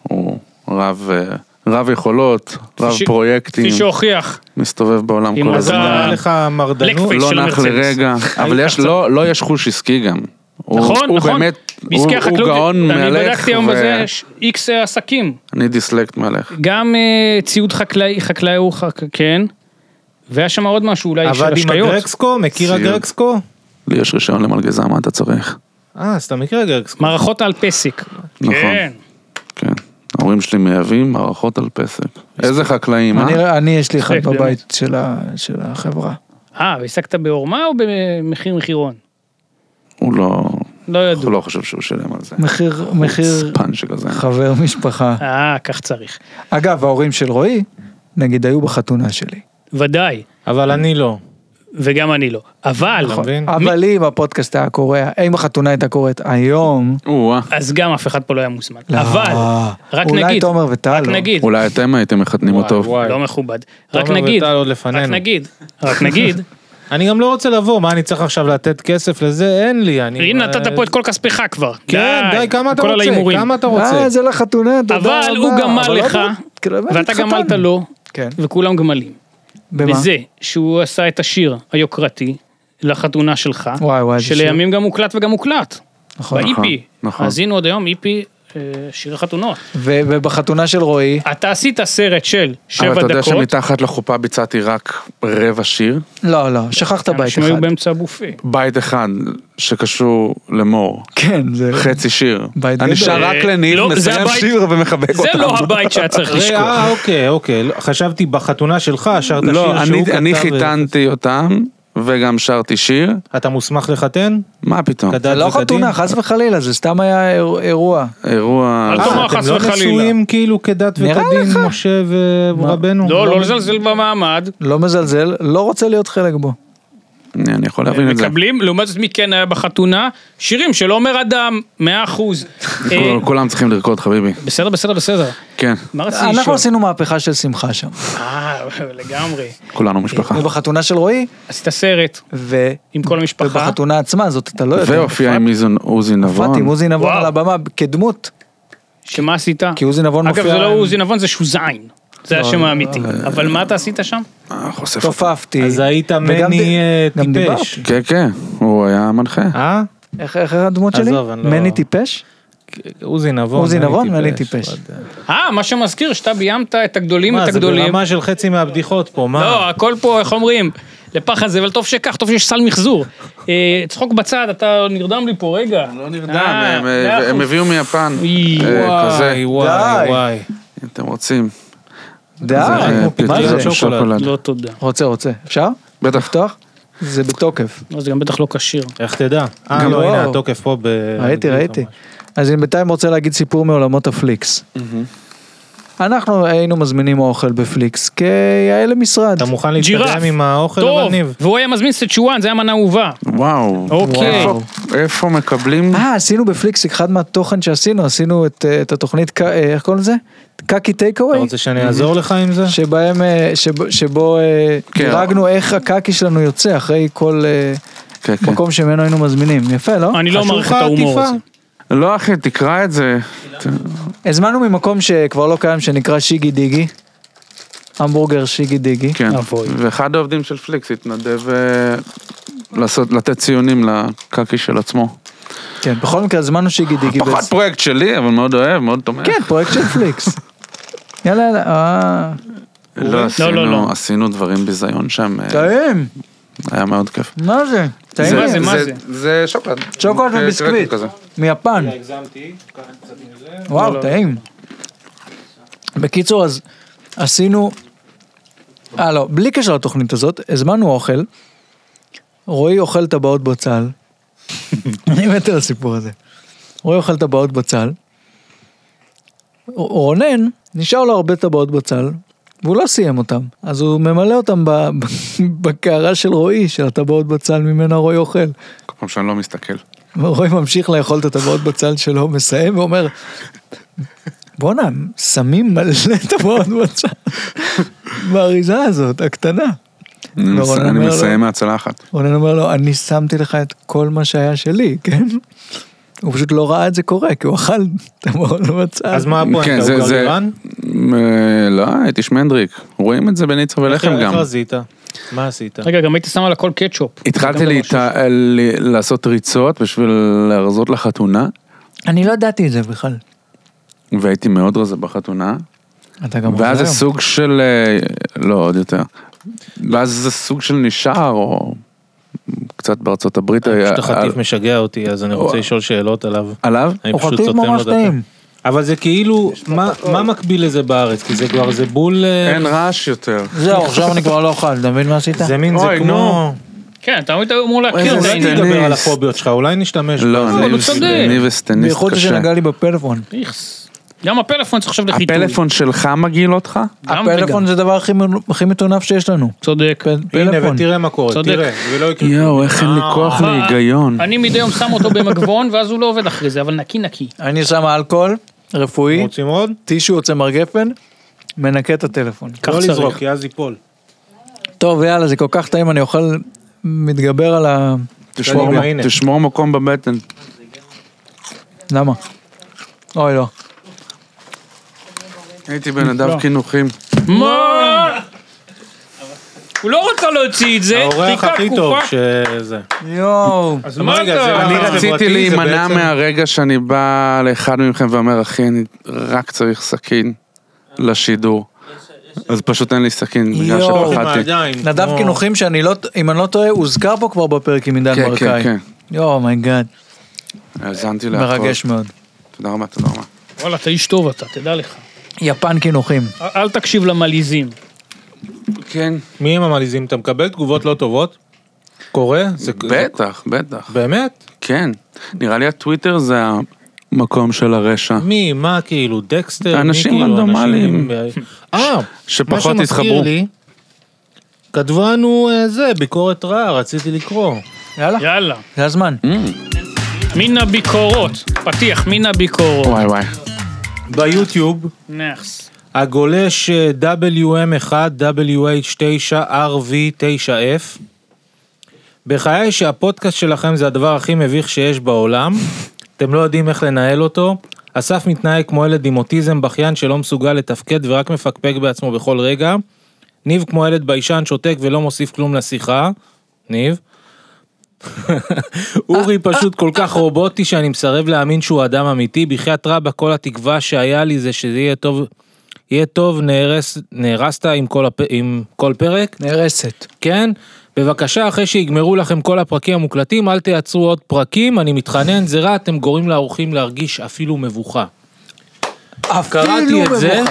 הוא רב... אה, רב יכולות, רב
ש-
פרויקטים,
כפי שהוכיח, מסתובב.
מסתובב בעולם
אם
כל
אתה-
הזמן,
היה לך מרדנות?
לקפיש.
לא נח
של מרצדס.
לרגע, אבל יש, לא, לא יש חוש עסקי גם. הוא-
נכון,
הוא
נכון.
באמת, הוא,
בעסקי
הוא
החקלאות,
גאון מהלך.
אני בדקתי היום
ו-
בזה, יש איקס עסקים.
אני דיסלקט מהלך.
גם אה, ציוד חקלאי, חקלאי הוא, חק- כן. והיה שם עוד משהו אולי של
עבד עם
השקיות.
הגרקסקו? מכיר
ציוד.
הגרקסקו?
לי יש רישיון למלגזה, מה אתה צריך?
אה, אז אתה מכיר הגרקסקו.
מערכות על פסק.
נכון.
כן.
כן. ההורים שלי מייבאים מערכות על פסק. איזה חקלאים, אה?
אני- אני יש לי אחד
באמת.
בבית של ה- של החברה.
אה, והשגת בעורמה או במחיר מחירון?
הוא לא...
לא
הוא
ידעו.
לא חושב שהוא שילם על זה.
מחיר, מחיר
ספן שכזה.
חבר משפחה.
אה, כך צריך.
אגב, ההורים של רועי, נגיד, היו בחתונה שלי.
ודאי.
אבל אני לא.
וגם אני לא. אבל,
נכון.
אה,
מבין?
אבל אם הפודקאסט היה קורה, אם החתונה הייתה קורית היום,
או-אה.
אז גם אף אחד פה לא היה מוזמן. אבל, רק
אולי
נגיד,
תומר וטל
רק
לא.
נגיד,
אולי אתם הייתם מחתנים
וואי,
אותו.
וואי.
לא מכובד. רק
תומר
נגיד,
וטל עוד
רק
לפנינו.
נגיד, רק נגיד,
אני גם לא רוצה לבוא, מה אני צריך עכשיו לתת כסף לזה? אין לי, אני...
הנה נתת פה את כל כספך כבר.
כן, די, כמה אתה
כל על
רוצה?
ההימורים.
כמה
לא
אתה רוצה?
אה, זה לחתונה, תודה רבה.
אבל הוא גמל
אבל לא
לך,
באמת, כאילו, באמת,
ואתה
התחתן.
גמלת לו,
כן.
וכולם גמלים.
במה?
בזה שהוא עשה את השיר היוקרתי לחתונה שלך,
וואי, וואי, איזה שיר.
שלימים גם הוקלט וגם הוקלט.
נכון.
באיפי.
נכון.
האזינו עד היום איפי אה, שיר חתונות.
ו- ובחתונה של רועי,
אתה עשית סרט של שבע
אבל
דקות.
אתה יודע שמתחת לחופה ביצעתי רק רבע שיר.
לא, לא, שכחת בית
אנשים כן, היו
אחד.
באמצע הבופה.
בית אחד שקשור למור.
כן, זה...
חצי שיר.
בית
אני
גדול.
שר
אה,
רק לניב,
לא, זה
מסיים
הבית-
שיר ומחבק אותם.
זה לא הבית שהיה צריך
אה,
לשכוח.
אה, אוקיי, אוקיי. לא, חשבתי בחתונה שלך, שרת שיר שהוא
לא,
כתב...
אני- אני
ו-
אה,
חיתנתי אותם, וגם שרתי שיר.
אתה מוסמך לחתן?
מה פתאום?
כדת
זה לא
וכדין?
אה,
חתונה, חס וחלילה, זה סתם היה אירוע- אירוע.
אירוע...
אל
אה,
תאמר
אתם
חס
לא
וחלילה.
נשואים כאילו כדת
נראה
וכדין,
לך.
משה ורבנו?
לא, לא לזלזל במעמד.
לא מזלזל, לא רוצה להיות חלק בו.
אני אני יכול להבין את זה.
מקבלים, לעומת זאת מי כן היה בחתונה, שירים של עומר אדם, 100%. אה,
כול- כולם צריכים לרקוד, חביבי.
בסדר, בסדר, בסדר.
כן,
מה רציתי
אנחנו
לשאול?
עשינו מהפכה של שמחה שם.
אה, לגמרי.
כולנו
אה,
משפחה.
ובחתונה של רועי,
עשית סרט
ו...
עם כל המשפחה.
ובחתונה עצמה, זאת אתה לא
אה,
יודע.
והופיע עם איזון- עוזי
הופעתי עם
נבון.
עוזי נבון
וואו.
על הבמה כדמות.
שמה עשית?
כי עוזי נבון
אגב,
מופיע
זה לא
עם-
עוזי נבון, זה שוזיין. זה השם האמיתי. אבל מה אתה עשית שם?
אה, חושף אותו.
תופפתי.
אז היית
וגם
מני,
די-
אה,
גם
טיפש.
דיברתי.
כן, כן, הוא היה מנחה.
אה?
איך איך הדמות שלי?
עזוב, אני לא-
מני טיפש?
עוזי נבון.
עוזי
מני
נבון, מני טיפש.
לא יודע.
אה, מה שמזכיר, שאתה ביימת את הגדולים,
מה,
את
זה
הגדולים.
ברמה אה. של חצי מהבדיחות פה,
לא,
מה?
הכל פה, איך אומרים? לפח הזה, אבל טוב שכך, טוב שיש סל מחזור. אה, צחוק בצד, אתה נרדם לי פה, רגע.
לא נרדם,
אה,
הם,
מאה
אה, הם
אחוז.
הביאו מיפן.
אי,
אה,
וואי,
כזה,
וואי,
די.
וואי.
אם אתם רוצים.
די,
זה, אה,
כמו
מה
פטריות
זה?
שוקולד.
שוקולד.
לא תודה.
רוצה, רוצה. אפשר?
בטח.
לפתוח? זה בתוקף.
לא, זה גם בטח לא כשיר.
איך תדע? אה,
גם
לא,
לא.
הנה התוקף פה ב...
ראיתי, ראיתי. אז אני בינתיים רוצה להגיד סיפור מעולמות הפליקס.
Mm-hmm.
אנחנו היינו מזמינים אוכל בפליקס כיאה למשרד.
אתה מוכן
ג'ירף.
להתקדם עם האוכל, אבל
טוב,
ניב?
והוא היה מזמין סצ'ואן, זה היה מנה אהובה.
וואו.
אוקיי.
איפה- איפה מקבלים?
אה, עשינו בפליקס אחד מהתוכן שעשינו, עשינו את, אה, את התוכנית, ק- אה, איך קוראים לזה? קקי טייק
אתה
אווי?
רוצה שאני אעזור לך עם זה?
שבהם, אה, שב- שבו אה,
כן.
דירגנו איך הקקי שלנו יוצא אחרי כל אה,
כן, כן.
מקום שממנו היינו מזמינים. יפה, לא?
אני לא
חשוב
מעריך
לך
את ההומור
העטיפה?
הזה.
לא אחי, תקרא את זה.
הזמנו ממקום שכבר לא קיים, שנקרא שיגי דיגי. המבורגר שיגי דיגי.
כן.
אבוי.
ואחד העובדים של פליקס התנדב אה, לעשות, לתת ציונים לקקי של עצמו.
כן, בכל מקרה הזמנו שיגי דיגי.
פחות
בעצם.
פרויקט שלי, אבל מאוד אוהב, מאוד תומך.
כן, פרויקט של פליקס. יאללה, יאללה, אה...
לא,
לא, לא.
עשינו, עשינו דברים ביזיון שם, אה,
טעים,
היה מאוד כיף.
מה זה? טעים.
מה זה, מה זה?
זה שוקולד.
שוקולד
אה,
וביסקוויט,
כזה.
מיפן. וואו, טעים. בקיצור, אז עשינו... אה, לא, בלי קשר לתוכנית הזאת, הזמנו אוכל, רועי אוכל טבעות בצל. אני מת על הסיפור הזה. רועי אוכל טבעות בצל. רונן, נשאר לו הרבה טבעות בצל, והוא לא סיים אותם. אז הוא ממלא אותם ב- בקערה של רועי, של הטבעות בצל ממנה רועי אוכל.
כל פעם שאני לא מסתכל.
ורועי ממשיך לאכול את הטבעות בצל שלו, מסיים ואומר, בואנה, שמים מלא טבעות בצל באריזה הזאת, הקטנה.
אני
לא,
מס-
רונן
אני
אומר
מסיים
לו-
מהצלחת.
רונן אומר לו, אני שמתי לך את כל מה שהיה שלי, כן? הוא פשוט לא ראה את זה קורה, כי הוא אכל טבעות בצל.
אז מה
כן,
הפואנטה?
זה-
הוא
זה-
גרלירן?
אה, לא, הייתי שמנדריק. רואים את זה בניצה ולחם
איך
גם.
רזית? אוקיי, מה עשית?
רגע, גם הייתי שם על הכל קטשופ.
התחלתי להת- ל- לעשות ריצות בשביל להרזות לחתונה,
אני לא ידעתי את זה בכלל.
והייתי מאוד רזה בחתונה,
אתה גם
ואז זה
היום.
סוג של, אה, לא, עוד יותר. ואז זה סוג של נשאר, או קצת בארצות הברית היה...
פשוט החטיף
על-
משגע אותי, אז אני רוצה לשאול שאלות עליו.
עליו?
אני
הוא
פשוט
חטיף
סותם לו
ממש
את הפה.
טעים.
אבל זה כאילו, מה- מה מקביל לזה בארץ? כי זה כבר, זה בול... אה,
אין רעש יותר.
זהו, עכשיו אני כבר לא אוכל, אתה מבין מה עשית?
זה מין, זה
אוי,
כמו...
נו.
כן, אתה היית אמור להכיר
איזה
את
אולי
סטייק.
העניין.
נדבר על
טניס.
הפוביות שלך, אולי נשתמש.
לא,
בזה.
אבל
אני
הוא
וס-
צודק.
אני וסטניסט
בייחוד
קשה.
שנגע לי בפלאפון.
איכס. גם הפלאפון צריך עכשיו לחיתוי.
הפלאפון שלך מגעיל אותך?
גם
הפלאפון
וגם.
זה הדבר הכי מ- הכי מטונף שיש לנו.
צודק.
פל-
הנה,
פלאפון.
ותראה מה קורה,
צודק.
תראה, זה לא יקרה.
יואו, איך אין לי כוח
אה,
להיגיון.
אני מדי יום שם אותו במגבון, ואז הוא לא עובד אחרי זה, אבל נקי נקי.
אני שם אלכוהול, רפואי,
רוצים עוד?
טישו יוצא מר גפן, מנקה את הטלפון.
כך
לא
צריך.
לזרוק, כי אז ייפול.
טוב, יאללה, זה כל כך טעים, אני אוכל... מתגבר על ה...
תשמור
קדימה,
מ-
הנה.
תשמור מקום בבטן.
למה? אוי, לא.
הייתי בן אדם קינוחים.
מה? הוא לא רוצה להוציא את
אה,
זה,
האורח
חיכה
הכי טוב
תקופה.
שזה.
יואו.
אז
מה
רגע,
אתה-
אה, זה
אני
אני
לחץ
רציתי
חברתי, זה
להימנע
בעצם-
מהרגע שאני בא לאחד מכם ואומר, אחי, אני רק צריך סכין לשידור. אז פשוט אין לי סכין, בגלל
יואו.
עם
שפחדתי.
הידיים,
נדב
כמו-
קינוחים שאני לא... אם אני לא טועה, הוזכר פה כבר בפרק עם עידן
כן,
ברקאי.
כן, כן.
יואו, מייגאד.
האזנתי להכל.
מרגש מאוד.
תודה רבה, תודה רבה.
וואלה, אתה איש טוב אתה, תדע לך.
יפן קינוחים.
אל- אל תקשיב למליזים.
כן.
מי הם המלעיזים? אתה מקבל תגובות לא טובות? קורה? זה-
בטח, בטח.
באמת?
כן. נראה לי הטוויטר זה המקום של הרשע.
מי? מה כאילו? דקסטר? מי
אנשים
כאילו?
רנדומליים.
אנשים- אה, מה
שפחות
שמזכיר
התחברו.
לי, כתבו לנו אה, זה, ביקורת רעה, רציתי לקרוא.
יאללה,
יאללה.
זה הזמן.
Mm,
מן הביקורות. פתיח, מן הביקורות.
וואי וואי.
ביוטיוב,
נכס.
הגולש אה, WM1, WH9RV9F. בחיי שהפודקאסט שלכם זה הדבר הכי מביך שיש בעולם, אתם לא יודעים איך לנהל אותו. אסף מתנהג כמו ילד עם אוטיזם בכיין שלא מסוגל לתפקד ורק מפקפק בעצמו בכל רגע. ניב כמו ילד ביישן שותק ולא מוסיף כלום לשיחה. ניב. אורי פשוט כל כך רובוטי שאני מסרב להאמין שהוא אדם אמיתי, בחייאת רבא כל התקווה שהיה לי זה שזה יהיה טוב, יהיה טוב נהרס, נהרסת עם כל, הפ... עם כל פרק,
נהרסת.
כן? בבקשה אחרי שיגמרו לכם כל הפרקים המוקלטים אל תייצרו עוד פרקים, אני מתחנן זה רע, אתם גורמים לאורחים להרגיש אפילו מבוכה. קראתי את זה,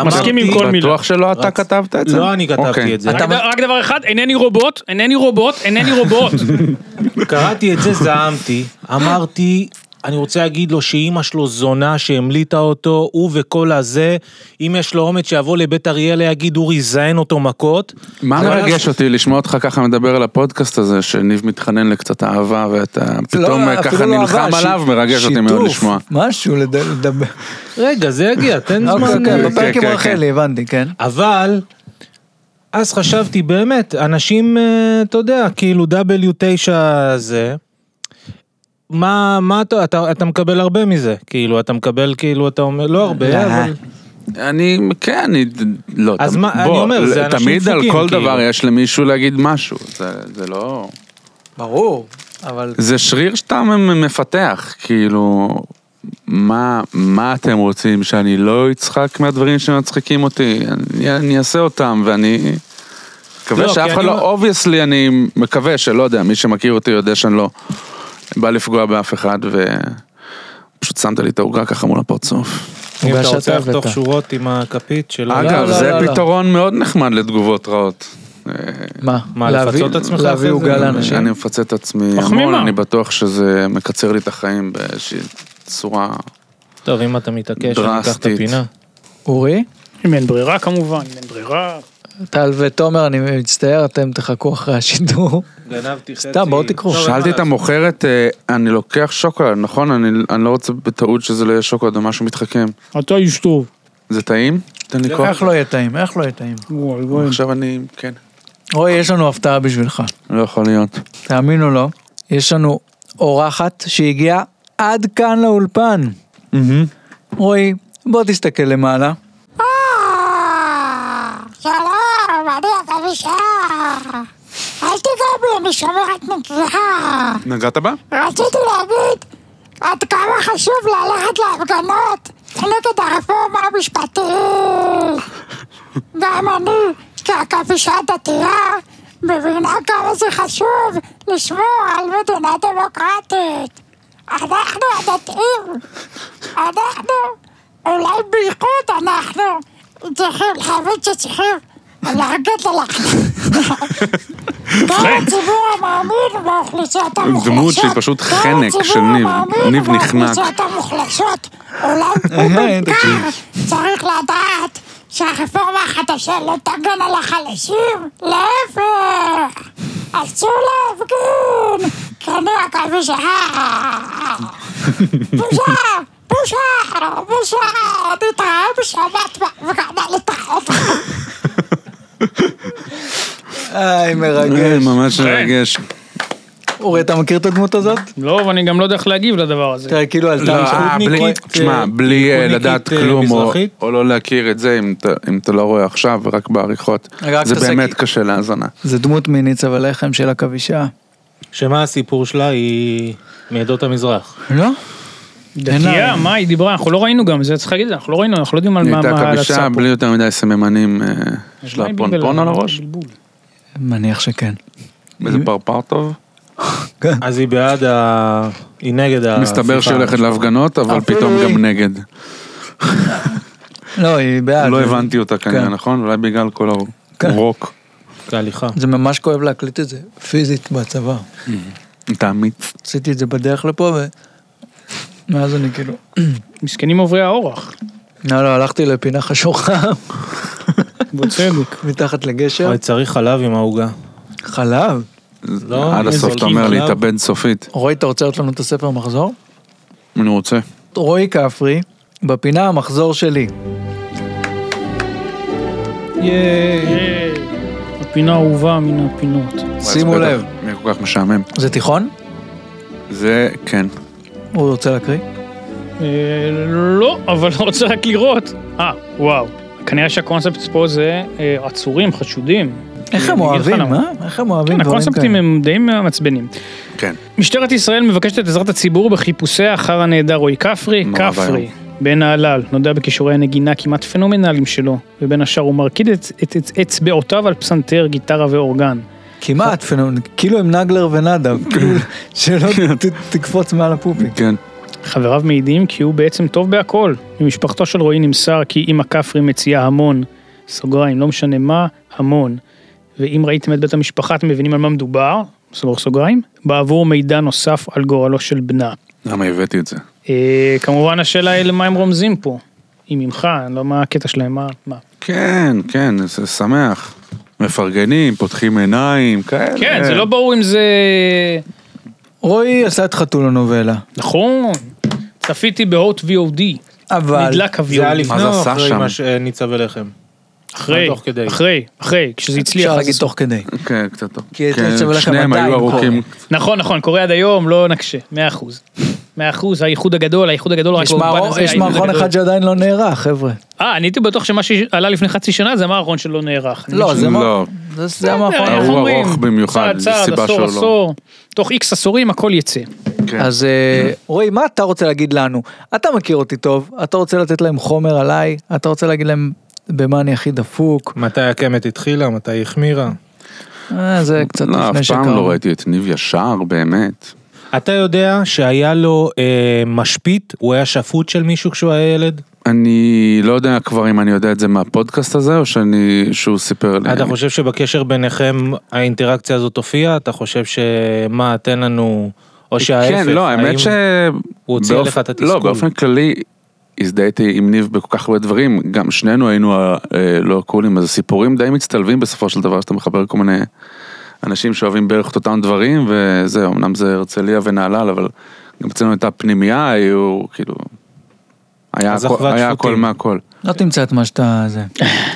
אמרתי-
מסכים עם כל מילה.
בטוח שלא אתה
רצ-
כתבת את זה?
לא אני כתבתי
אוקיי.
את זה,
רק דבר- רק דבר אחד, אינני רובוט, אינני רובוט, אינני רובוט.
קראתי את זה, זעמתי, אמרתי, אני רוצה להגיד לו שאימא שלו זונה שהמליטה אותו, הוא וכל הזה, אם יש לו אומץ שיבוא לבית אריאלה יגיד אורי זיין אותו מכות.
מה
אבל-
מרגש אותי לשמוע אותך ככה מדבר על הפודקאסט הזה, שניב מתחנן לקצת אהבה ואתה
לא,
פתאום אה, ככה נלחם עליו, מרגש אותי מאוד לשמוע.
משהו לד- לדבר.
רגע, זה יגיע, תן
אוקיי,
זמן.
אוקיי,
כן,
בפרק עם
כן,
רחלי, הבנתי, כן.
אבל, אז חשבתי באמת, אנשים, אה, אתה יודע, כאילו W9 זה, מה, מה אתה, אתה, אתה מקבל הרבה מזה, כאילו, אתה מקבל, כאילו, אתה אומר, לא הרבה,
אה,
אבל...
אני, כן, אני, לא,
אז
תמ-
מה, אני
בוא,
אומר, זה
ל-
אנשים
תמיד על
דפוקים,
כל
כאילו.
דבר יש למישהו להגיד משהו, זה- זה לא...
ברור, אבל...
זה שריר שאתה מ- מפתח, כאילו, מה, מה אתם רוצים, שאני לא אצחק מהדברים שמצחיקים אותי? אני, אני אעשה אותם, ואני... מקווה
לא,
שאף
כי
אחד
אני
לא, אובייסלי אני מקווה שלא יודע, מי שמכיר אותי יודע שאני לא בא לפגוע באף אחד, ופשוט שמת לי את העוגה ככה מול הפרצוף.
אם אתה
שאתה
רוצה
הבאת.
לחתוך שורות עם הכפית של...
אגב,
לא,
זה
לא, לא.
פתרון מאוד נחמד לתגובות רעות. אה,
מה?
מה,
להביא-
לפצות את עצמך
להביא
אחרי זה?
עוגה לאנשים.
אני מפצה את עצמי המון,
מחמימה.
אני בטוח שזה מקצר לי את החיים באיזושהי צורה
טוב, אם אתה מתעקש, אני אקח את
דרסטית.
הפינה.
אורי,
אם אין ברירה כמובן, אם אין ברירה.
טל ותומר, אני מצטער, אתם תחכו אחרי השידור.
גנבתי חצי.
סתם, בואו תיקחו.
טוב,
שאלתי
אין
את המוכרת, אה, אני לוקח שוקולד, נכון? אני, אני לא רוצה בטעות שזה לא יהיה שוקולד או משהו מתחכם.
אתה איש טוב.
זה טעים? תן לי כוח.
איך לא יהיה טעים? איך לא יהיה טעים?
וואי וואי.
עכשיו אני, כן.
אוי, יש לנו הפתעה בשבילך.
לא יכול להיות.
תאמין או לא, יש לנו אורחת שהגיעה עד כאן לאולפן. רועי, בוא תסתכל למעלה.
שלום, אני החמישה. אל תיגע בי, משמרת מצווה.
נגעת בה?
רציתי להגיד עד כמה חשוב ללכת להפגנות נגד הרפורמה המשפטית. גם אני, כעכבישה דתייה, מבינה כמה זה חשוב לשמור על מדינה דמוקרטית. אנחנו הדתיים, אנחנו, אולי בייחוד אנחנו, צריכים להבין שצריכים להגיד ללכת. גם הציבור המאמין באוכלוסיות המוחלשות.
דמות שהיא פשוט חנק של ניב. ניב נחנק.
המוחלשות אולי הוא
אה,
בעיקר צריך לדעת שהרפורמה החדשה לא תגן על החלשים, להפך! אסור להפגין! קנו הכל בשעה! בושה! בושה! בושה! נתראה בשבת לא בהפגנה להתראות!
איי,
אה,
מרגש.
ממש מרגש.
אורי, אתה מכיר את הדמות הזאת?
לא, ואני גם לא יודע איך להגיב לדבר הזה.
תראה, כאילו עלתה
לא, אה,
ליכודניק.
בלי-
ליכודניקית,
תשמע,
אה,
בלי אה,
ליכודניקית,
לדעת
אה,
כלום או-
מזרחית?
או לא להכיר את זה, אם אתה- אם אתה לא רואה עכשיו, רק בעריכות.
רק
זה
תעשה
באמת
כי-
קשה להאזנה.
זה דמות מניצה ולחם של עכבישה.
שמה הסיפור שלה? היא מעדות המזרח.
לא?
דתייה, מה היא דיברה? אנחנו לא ראינו גם, זה צריך להגיד, אנחנו לא ראינו, אנחנו לא יודעים על
היא
מה
הייתה
מה ההלצה
כבישה
פה.
בלי יותר מדי סממנים, אה, יש לה
מה היא
פונפון
בלבלה?
על הראש,
בלבול.
מניח שכן.
איזה
אה,
פרפר טוב.
אז היא בעד ה... היא נגד ה...
מסתבר שהיא הולכת להפגנות, אבל
אפילו
פתאום
היא.
גם נגד.
לא, היא בעד.
לא
זה-
הבנתי אותה כנראה,
כן.
נכון? אולי בגלל כל
כן.
הרוק.
תהליכה.
זה ממש כואב להקליט את זה, פיזית בצבא.
תאמיץ.
עשיתי את זה בדרך לפה, ומאז אני כאילו...
מסכנים עוברי האורח,
לא, לא, הלכתי לפינה חשוכה,
בצדק.
מתחת לגשר.
אוי, צריך חלב עם העוגה.
חלב.
לא,
עד
איזה
הסוף אתה
קינג
אומר
קלאב.
להתאבד סופית.
רועי, אתה רוצה לראות לנו את הספר מחזור?
אני רוצה.
רועי כפרי, בפינה המחזור שלי.
ייי. הפינה האהובה מן הפינות.
שימו
בטח,
לב.
יהיה כל כך משעמם.
זה תיכון?
זה כן.
הוא רוצה להקריא?
אה, לא, אבל אני רוצה רק לראות. אה, וואו. כנראה שהקונספט פה זה אה, עצורים, חשודים.
איך הם
אני אגיד לך
אוהבים,
למה.
אה? איך הם אוהבים
כן,
כן, דברים
הקונספטים
כאלה.
הם די מעצבנים.
כן.
משטרת ישראל מבקשת את עזרת הציבור בחיפושיה אחר הנעדר רועי כפרי,
נורא
כפרי.
ואיום.
בן נהלל, נודע בכישורי הנגינה כמעט פנומנליים שלו, ובין השאר הוא מרקיד את, את, את אצבעותיו על פסנתר, גיטרה ואורגן.
כמעט פנומנ... כאילו הם נגלר ונדב, כאילו, שלא ת- תקפוץ מעל הפופיק.
כן.
חבריו מעידים כי הוא בעצם טוב בהכל. ממשפחתו של רועי נמסר כי אמא כפרי מציעה המון, סוגריים, לא משנה מה, המון. ואם ראיתם את בית המשפחה אתם מבינים על מה מדובר, סוגר סוגריים, בעבור מידע נוסף על גורלו של בנה.
למה הבאתי את זה?
אה, כמובן השאלה היא למה הם רומזים פה. היא ממך, אני לא מה הקטע שלהם, מה, מה.
כן, כן, זה שמח. מפרגנים, פותחים עיניים, כאלה.
כן, זה לא ברור אם זה...
רועי עשה את חתול הנובלה,
נכון, צפיתי בהוט VOD,
אבל...
נדלק
זה היה
מה
ה-VOD,
לפני
זה
או
עשה
אחרי
שם?
מה אה, שניצב אליכם?
אחרי,
תוך כדי.
אחרי, אחרי, כשזה הצליח.
אפשר
אז
להגיד
עשו.
תוך כדי.
כן, קצת טוב.
כי את
כן,
זה שווה לך
שניהם
200
היו ארוכים.
נכון, נכון, קורה עד היום, לא נקשה, מאה אחוז. מאה אחוז, האיחוד הגדול, האיחוד הגדול, רק
יש
באולפן
מערכון-
הזה,
יש
האיחוד
מערכון
הגדול.
אחד שעדיין לא נערך, חבר'ה.
אה, אני הייתי בטוח שמה שעלה לפני חצי שנה זה המערכון שלא נערך. אני
לא,
מבין
זה מה...
לא.
זה- זה
שזה-
המערכון.
איך
הוא
אומרים?
ארוך במיוחד,
צעד, צעד,
סיבה
עשור,
שלא.
עשור. תוך איקס עשורים הכל יצא.
כן.
אז אה, רועי, מה אתה רוצה להגיד לנו? אתה מכיר אותי טוב, אתה רוצה לתת להם חומר עליי, אתה רוצה להגיד להם במה אני הכי דפוק,
מתי הקמת התחילה? מתי היא החמירה?
אה, זה קצת
לא,
לפני
אף פעם
שקראנו.
לא ראיתי את ניב ישר, באמת.
אתה יודע שהיה לו אה, משפיט? הוא היה שפוט של מישהו כשהוא היה ילד?
אני לא יודע כבר אם אני יודע את זה מהפודקאסט הזה, או שאני, שהוא סיפר
אה,
לי.
אתה חושב שבקשר ביניכם האינטראקציה הזאת הופיעה? אתה חושב שמה, תן לנו... או שההפך,
כן, לא, האמת
האם-
ש...
הוא הוציא
באופ-
לך את התסכול?
לא, באופן כללי, הזדהיתי עם ניב בכל כך הרבה דברים, גם שנינו היינו אה, לא קולים, אז סיפורים די מצטלבים בסופו של דבר, שאתה מחבר כל מיני אנשים שאוהבים בערך את אותם דברים, וזה, אמנם זה הרצליה ונהלל, אבל גם אצלנו הייתה פנימייה, היו כאילו... היה
אז
הכל-
אחוות
היה
שפוטים.
הכל מהכל.
לא תמצא את מה שאתה... זה.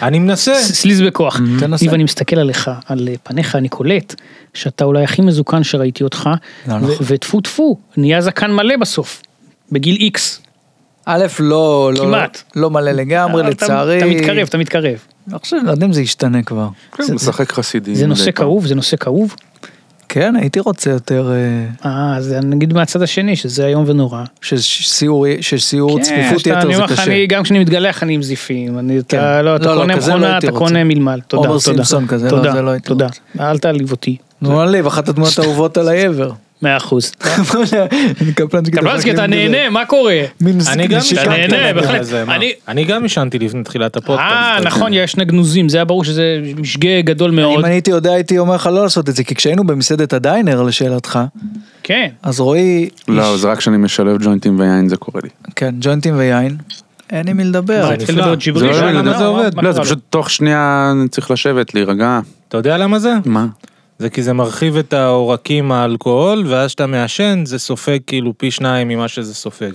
אני מנסה.
ס- סליז בכוח.
Mm-hmm. תנסה.
ניב, אני מסתכל עליך, על אה, פניך, אני קולט שאתה אולי הכי מזוקן שראיתי אותך,
לא,
ו-
נכון.
וטפו טפו, נהיה זקן מלא בסוף, בגיל איקס.
א', לא... לא-
כמעט.
לא מלא לגמרי,
אבל אתה-
לצערי.
אתה מתקרב, אתה מתקרב.
אני חושב, לא יודע אם זה ישתנה כבר.
כן, משחק חסידי.
זה
מדי
נושא
פעם.
כאוב, זה נושא כאוב.
כן, הייתי רוצה יותר... אה,
אה, אז נגיד מהצד השני, שזה איום ונורא.
שסיור, שסיור
כן,
צפיפות
שאתה-
יתר
אני
זה
אומר לך,
קשה.
אני, גם כשאני מתגלח אני עם זיפים, אני, אתה
כן.
לא, אתה
לא, לא,
קונה
כזה לא
מכונה,
הייתי
אתה
רוצה.
קונה מלמל, תודה,
עומר
תודה.
סימפסון כזה, לא,
תודה,
זה לא הייתי
תודה,
רוצה.
אל תעליב אותי,
נו, על לב, אחת הדמויות האהובות על העבר.
מאה אחוז.
קפלנסקי, כן,
קבלנסקי, אתה
מחכים לזה.
נהנה, מה קורה?
מין ז-
אני גם
נשיקה
אתה
עישנתי
כזאת.
נהנה,
לפני
כן, בהחלט.
זה, מה?
אני-
אני גם עישנתי לפני תחילת הפודקאסט.
אה,
אז-
נכון, יש נגנוזים, זה היה ברור שזה משגה גדול מאוד.
אם אני הייתי יודע הייתי אומר לך לא לעשות את זה, כי כשהיינו במסעדת הדיינר לשאלתך,
כן.
אז רועי,
לא, זה רק כשאני משלב ג'וינטים ויין זה קורה לי.
כן, ג'וינטים ויין, אין עם מי לדבר.
מה,
זה
התחיל
נפלא.
להיות ג'יבריש?
זה לא
יודע
למה
למה זה עובד.
מה
לא,
קרה
זה
לו?
פשוט תוך שנייה אני צריך לשבת, להירגע.
אתה יודע למה זה?
מה?
זה כי זה מרחיב את העורקים האלכוהול, ואז כשאתה מעשן זה סופג כאילו פי שניים ממה שזה סופג.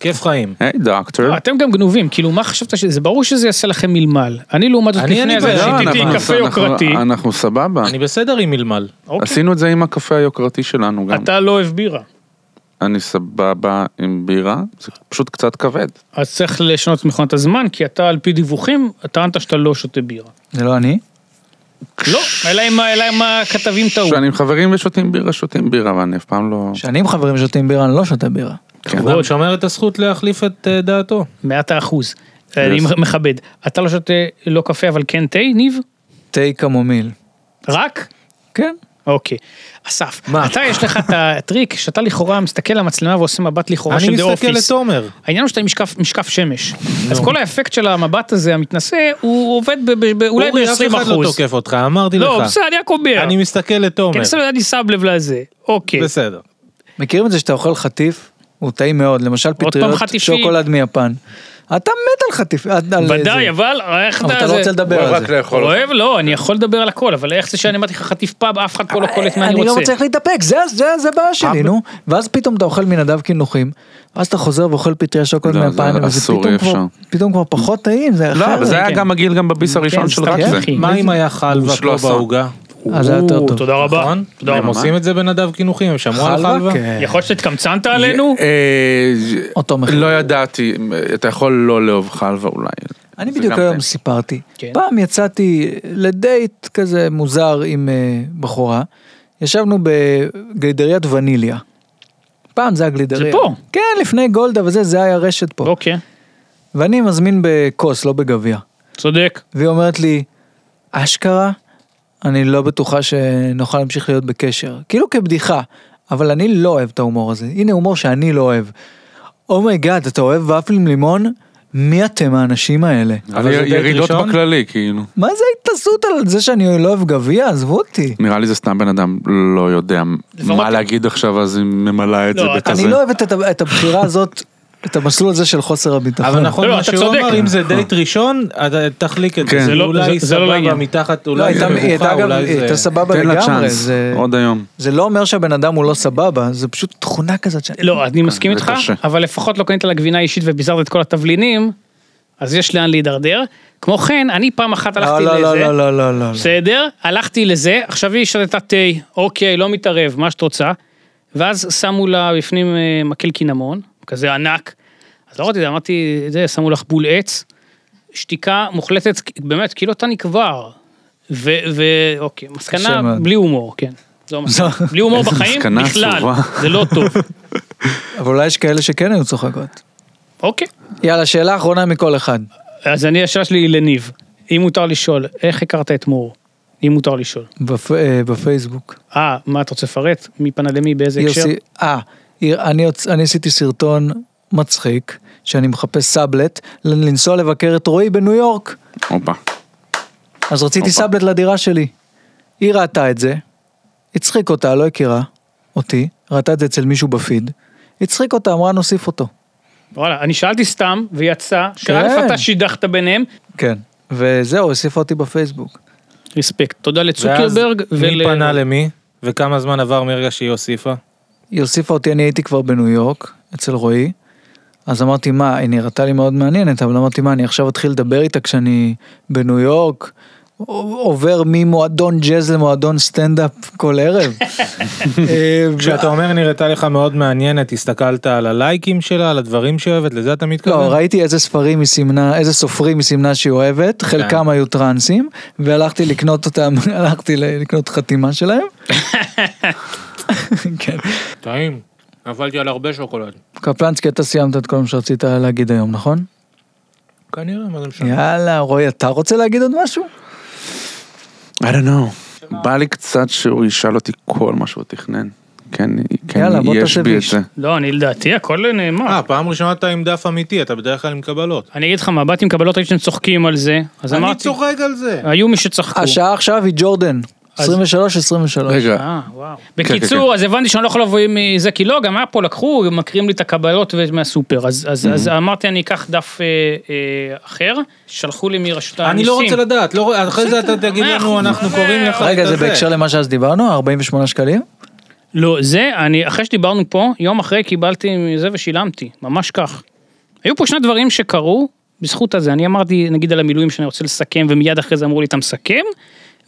כיף חיים.
היי דוקטור.
אה,
לא, אתם גם גנובים, כאילו מה חשבת שזה, ברור שזה יעשה לכם מלמל. אני לעומת זאת
אני- אני
לפני זה
בעד.
לא,
שתיתי
אנחנו-
קפה
אנחנו-
יוקרתי,
אנחנו סבבה.
אני בסדר עם מלמל.
אוקיי.
עשינו את זה עם הקפה היוקרתי שלנו גם.
אתה לא אוהב בירה,
אני סבבה עם בירה, זה פשוט קצת כבד.
אז צריך לשנות את מכונת הזמן, כי אתה על פי דיווחים, טענת שאתה לא שותה בירה.
זה לא אני?
לא, אלא אם- אלא אם הכתבים טעו.
כשאני עם חברים ושותים בירה, שותים בירה, ואני אף פעם לא...
כשאני עם חברים שותים בירה, אני לא שותה בירה.
כן.
הוא גם שומר את הזכות להחליף את אה, דעתו.
מאת האחוז. אני מכבד. אתה לא שותה לא קפה אבל כן תה, ניב?
תה קמומיל.
רק?
כן.
אוקיי. אסף, אתה יש לך את הטריק שאתה לכאורה מסתכל על המצלמה ועושה מבט לכאורה
אני
של דה אופיס.
מסתכל לא. לתומר.
העניין הוא שאתה עם משקף, משקף שמש. אז כל האפקט של המבט הזה המתנשא, הוא עובד ב, ב, ב, אולי
אורי, אף
ב-20
אחד לא
אחוז.
תוקף אותך, אמרתי
לא,
לך.
בסדר, כן, אני יעקב ביאר.
אני מסתכל לתומר.
כנס אני שם לב לזה. אוקיי.
בסדר.
מכירים את זה שאתה אוכל חטיף? הוא טעים מאוד, למשל
פעם
פטריות
חטיפים.
שוקולד מיפן. אתה מת על חטיף, על- על
ודאי,
זה.
אבל איך
אבל אתה לא
זה-
רוצה לדבר על זה.
אוהב? לא, אני יכול לדבר על הכל, אבל איך זה שאני אמרתי לך חטיף פאב, אף אחד פה לא קולט מה אני
אני לא
רוצה.
מצליח להתאפק, זה זה- זה הבעיה שלי, נו. ואז פתאום אתה אוכל מנדב קינוחים, ואז אתה חוזר ואוכל פטריה שוקולד
לא, זה
מיפן, וזה
אסור,
פתאום
אי
כבר- פתאום כבר פחות טעים, זה
לא,
אחרת.
אבל זה היה
כן.
גם מגעיל גם בביס הראשון של
סתם
רק זה.
אחי.
מה אם היה חלבה פה
שלושה.
בעוגה?
אז זה היה יותר
או,
טוב.
תודה רבה.
נכון?
תודה
הם
רבה.
עושים את זה בנדב קינוחים, הם שמעו על חלבה?
כן.
יכול להיות שהתקמצנת עלינו?
אה,
אותו מחיר.
לא ידעתי, אתה יכול לא לאהוב חלבה אולי.
אני
זה
בדיוק
גם
היום
זה.
סיפרתי.
כן.
פעם יצאתי לדייט כזה מוזר עם אה, בחורה, ישבנו בגלידריית וניליה. פעם זה הגלידריה.
זה פה.
כן, לפני גולדה וזה, זה היה רשת פה.
אוקיי,
ואני מזמין בכוס, לא בגביע.
צודק.
והיא אומרת לי, אשכרה, אני לא בטוחה שנוכל להמשיך להיות בקשר. כאילו כבדיחה, אבל אני לא אוהב את ההומור הזה. הנה הומור שאני לא אוהב. אומייגאד, אתה אוהב ופל עם לימון? מי אתם האנשים האלה?
אבל
זה דייט
ירידות
ראשון?
בכללי, כאילו.
מה זה ההתנסות על זה שאני לא אוהב גביע? עזבו אותי.
נראה לי זה סתם בן אדם לא יודע מה
אתה-
להגיד עכשיו, אז היא ממלאה את
לא,
זה
אתה-
בכזה.
אני לא אוהב את- את הבחירה הזאת, את המסלול הזה של חוסר הביטחון.
אבל נכון,
לא,
מה
אתה
שהוא
צודק.
אמר, אם זה דייט ראשון, אתה תחליק את
כן.
זה.
זה
זה
לא-
אולי
זה- זה לא
סבבה
לעניין.
מתחת,
לא,
אולי
הייתה-
זה
היא הייתה
מבוכה,
גם,
אולי
היא
זה...
הייתה סבבה
תן לה
לגמרי.
צ'אנס,
זה-
עוד היום.
זה לא אומר שהבן אדם הוא לא סבבה, זה פשוט תכונה כזאת ש...
לא, אני מסכים
זה
איתך,
קשה.
אבל לפחות לא קנית לה גבינה אישית וביזרת את כל התבלינים, אז יש לאן להידרדר. כמו כן, אני פעם אחת
לא,
הלכתי
לא, לא,
לזה,
לא, לא, לא, לא.
בסדר, הלכתי לזה, עכשיו היא שתתה תה, אוקיי, לא מתערב, מה שאת רוצה. ואז שמו לה בפנים אה, מקל קינמון, כזה ענק. אז לא ראיתי את זה, אמרתי, זה, שמו לך בול עץ. שתיקה מוחלטת, באמת, כאילו אתה נקבר. ואוקיי,
קשה
מסקנה
מאוד.
בלי הומור, כן. זו המסקנה.
זו-
בלי הומור
איזה
בחיים,
מסקנה
בכלל,
עצובה.
זה לא טוב.
אבל אולי יש כאלה שכן היו צוחקות.
אוקיי.
יאללה, שאלה אחרונה מכל אחד.
אז אני, השאלה שלי היא לניב. אם מותר לשאול, איך הכרת את מור? אם מותר לשאול.
בפ- אה, בפייסבוק.
אה, מה אתה רוצה לפרט? מי פנה למי, באיזה הקשר?
יוסי- אה, היא- אני הוצ- אני עשיתי סרטון מצחיק, שאני מחפש סאבלט, ל- לנסוע לבקר את רועי בניו יורק.
הופה.
אז רציתי
הופה.
סאבלט לדירה שלי. היא ראתה את זה, הצחיק אותה, לא הכירה אותי, ראתה את זה אצל מישהו בפיד, הצחיק אותה, אמרה נוסיף אותו.
וואלה, אני שאלתי סתם, ויצא, שא'
כן.
אתה שידכת ביניהם,
כן. וזהו, הוסיפה אותי בפייסבוק.
ריספקט. תודה
ואז
לצוקרברג
מי
ול...
פנה למי? וכמה זמן עבר מרגע שהיא הוסיפה?
היא הוסיפה אותי, אני הייתי כבר בניו יורק, אצל רועי, אז אמרתי, מה, היא נראתה לי מאוד מעניינת, אבל אמרתי, מה, אני עכשיו אתחיל לדבר איתה כשאני בניו יורק, עובר ממועדון ג'אז למועדון סטנדאפ כל ערב. אה, ו-
כשאתה אומר נראתה לך מאוד מעניינת, הסתכלת על הלייקים שלה, על הדברים שהיא אוהבת, לזה אתה מתכוון?
לא, ראיתי איזה ספרים היא סימנה, איזה סופרים היא סימנה שהיא אוהבת, חלקם היו טרנסים, והלכתי לקנות אותם, הלכתי ל- לקנות חתימה שלהם. כן.
טעים. נפלתי על הרבה שוקולד.
קפלנסקי, אתה סיימת את כל מה שרצית להגיד היום, נכון?
כנראה, מה זה משנה?
יאללה, רועי, אתה רוצה להגיד עוד משהו?
I don't know. בא לי קצת שהוא ישאל אותי כל מה שהוא תכנן. כן, כן,
יאללה, בוא
יש
תעשה
בי את
ויש.
זה.
לא, אני לדעתי הכל נאמר.
אה, פעם ראשונה אתה עם דף אמיתי, אתה בדרך כלל עם קבלות.
אני אגיד לך מה, באתי עם קבלות, הייתם צוחקים על זה, אז
אני
אמרתי,
צוחק על זה.
היו מי שצחקו.
השעה עכשיו היא ג'ורדן. 23, 23.
רגע,
אה, וואו.
כן,
בקיצור, אז הבנתי שאני לא יכול לבוא עם זה, כי לא, גם היה פה, לקחו, מקרים לי את הקבלות ו- מהסופר. אז-
Mm-hmm.
אז אז אמרתי, אני אקח דף אה, אה, אחר, שלחו לי מרשות המיסים.
אני לא רוצה לדעת, לא- אחרי זה אתה תגיד לנו,
מאה אחוז,
אנחנו
מאה
קוראים לך
אחוז.
את
רגע, זה
הזה."
בהקשר למה שאז דיברנו, 48 שקלים?
לא, זה, אני, אחרי שדיברנו פה, יום אחרי קיבלתי מזה ושילמתי, ממש כך. היו פה שני דברים שקרו בזכות הזה, אני אמרתי, נגיד על המילואים שאני רוצה לסכם, ומיד אחרי זה אמרו לי, אתה מסכם?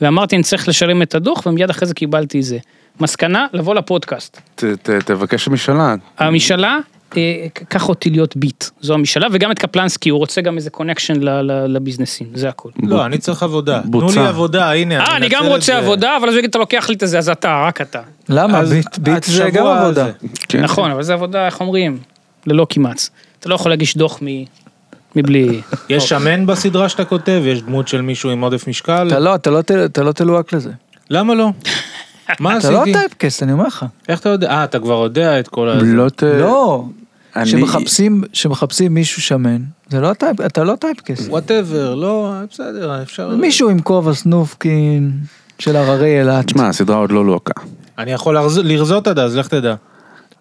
ואמרתי, אני צריך לשלם את הדוח, ומיד אחרי זה קיבלתי זה. מסקנה, לבוא לפודקאסט.
ת- ת- תבקש משאלה.
המשאלה, אה, ק- קח אותי להיות ביט, זו המשאלה, וגם את קפלנסקי, הוא רוצה גם איזה קונקשן ל- ל- לביזנסים, זה הכל.
לא, אני צריך עבודה. תנו
בוצע.
לי עבודה, הנה.
אה, אני גם
מנצל את
רוצה
זה.
עבודה, אבל אז הוא יגיד, אתה לוקח לי את זה, אז אתה, רק אתה.
למה?
אז
ביט, ביט זה
השבוע
גם עבודה.
הזה.
כן.
נכון, אבל זה עבודה, איך אומרים? ללא כמעט. אתה לא יכול להגיש דוח מ- מבלי...
יש שמן בסדרה שאתה כותב? יש דמות של מישהו עם עודף משקל?
אתה לא, אתה לא ת- אתה לא תלוהק לזה.
למה לא? מה
אתה לא
עשיתי?
טייפקסט, אני אומר לך.
איך אתה יודע? אה, אתה כבר יודע את כל ה...
לא ת...
לא.
אני-
שמחפשים, שמחפשים מישהו שמן, זה לא טייפ, אתה לא טייפקסט.
וואטאבר, לא, בסדר, אפשר...
מישהו עם כובע סנופקין של הררי אילת.
תשמע, הסדרה עוד לא לוקה.
אני יכול לרז- לרזות עד אז, לך תדע.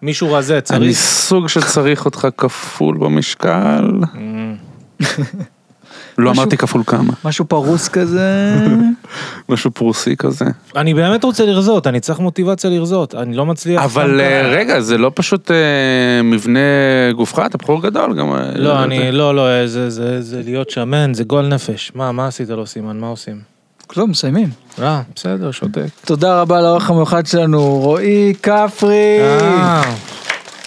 מישהו רזה,
אני
צריך...
סוג שצריך אותך כפול במשקל. לא אמרתי כפול כמה.
משהו פרוס כזה.
משהו פרוסי כזה.
אני באמת רוצה לרזות, אני צריך מוטיבציה לרזות, אני לא
כן,
מצליח... סתם
אבל
ככה.
אה, רגע, זה לא פשוט אה, מבנה גופך? אתה בחור גדול גם. אה,
לא,
אתה-
אני, לא, לא, אה, זה, זה, זה להיות שמן, זה גועל נפש. מה, מה עשית לו, סימן? מה עושים?
כלום, לא מסיימים.
אה, בסדר, שותק.
תודה רבה לאורח המיוחד שלנו, רועי כפרי.
אה,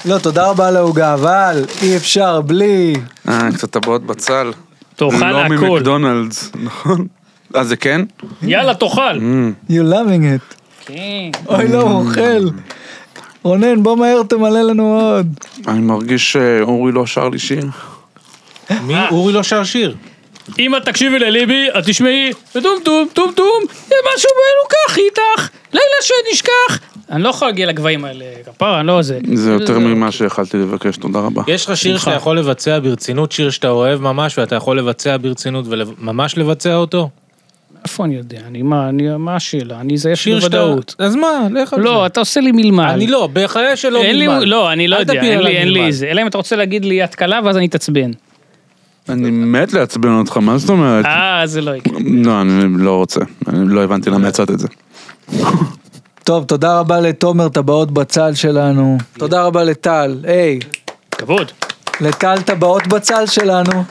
לא, תודה רבה על העוגה, אבל אי אפשר בלי.
אה, קצת טבעות בצל.
תאכל
לא
הכל.
ממקדונלדס, נכון? אה, זה כן?
יאללה, תאכל.
Mm.
You loving it.
כן.
אוי, לא, הוא אוכל. רונן, בוא מהר תמלא לנו עוד.
אני מרגיש שאורי לא שר לי שיר.
מי? אורי לא שר שיר.
אם את תקשיבי לליבי, את תשמעי, וטום טום טום טום, זה משהו באלו כך איתך, לילה שנשכח. אני לא יכול להגיע לגבהים האלה, כפרה, אני לא זה.
זה יותר ממה
אוקיי.
שיכלתי לבקש, תודה רבה.
יש לך שיר שאתה יכול לבצע ברצינות, שיר שאתה אוהב ממש, ואתה יכול לבצע ברצינות וממש לבצע אותו?
איפה אני יודע? אני מה, אני, מה השאלה? אני זייף
שיר שאתה...
בוודאות.
אז מה, לך על זה.
לא, אתה עושה לי מלמל.
אני לא, בחיי שלא
אין לי,
מלמד.
לא, אני לא
אל
יודע,
תפיל
אין
עליי
לי, אין
מלמד.
לי זה. אלא אם אתה רוצה להגיד לי את קלה, ואז אני אתעצבן.
אני מת לעצבן אותך, מה זאת אומרת?
אה, זה לא יקרה.
לא, אני לא רוצה. אני לא הבנתי למה יצאת את זה.
טוב, תודה רבה לתומר טבעות בצל שלנו. תודה רבה לטל. היי,
כבוד.
לטל טבעות בצל שלנו.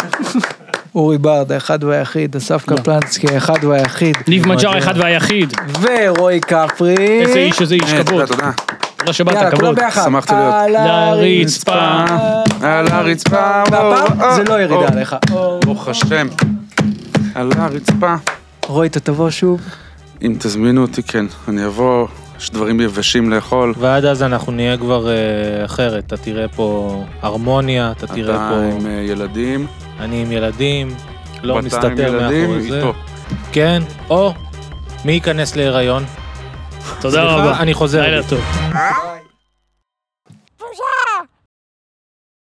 אורי ברד, האחד והיחיד, אסף קפלנסקי, האחד והיחיד,
ניב
לא
מג'אר האחד והיחיד.
ורועי כפרי.
איזה איש, איזה איש,
אה,
כבוד.
תודה, תודה.
תודה שבאת,
יאללה, כולם
כבוד.
ביחד.
שמחתי להיות.
על
לרצפה.
על הרצפה.
והפעם זה לא ירידה עליך.
ברוך השם. על הרצפה.
רועי, אתה תבוא שוב?
אם תזמינו אותי, כן. אני אבוא, יש דברים יבשים לאכול.
ועד אז אנחנו נהיה כבר אה, אחרת, אתה תראה פה הרמוניה, אתה תראה
אתה
פה...
עם אה, ילדים.
אני עם ילדים, לא
ואתה עם
מסתתר
ילדים,
מאחורי זה.
איתו.
כן, או מי ייכנס להיריון?
תודה רבה.
אני חוזר.
לילה טוב.
בושה!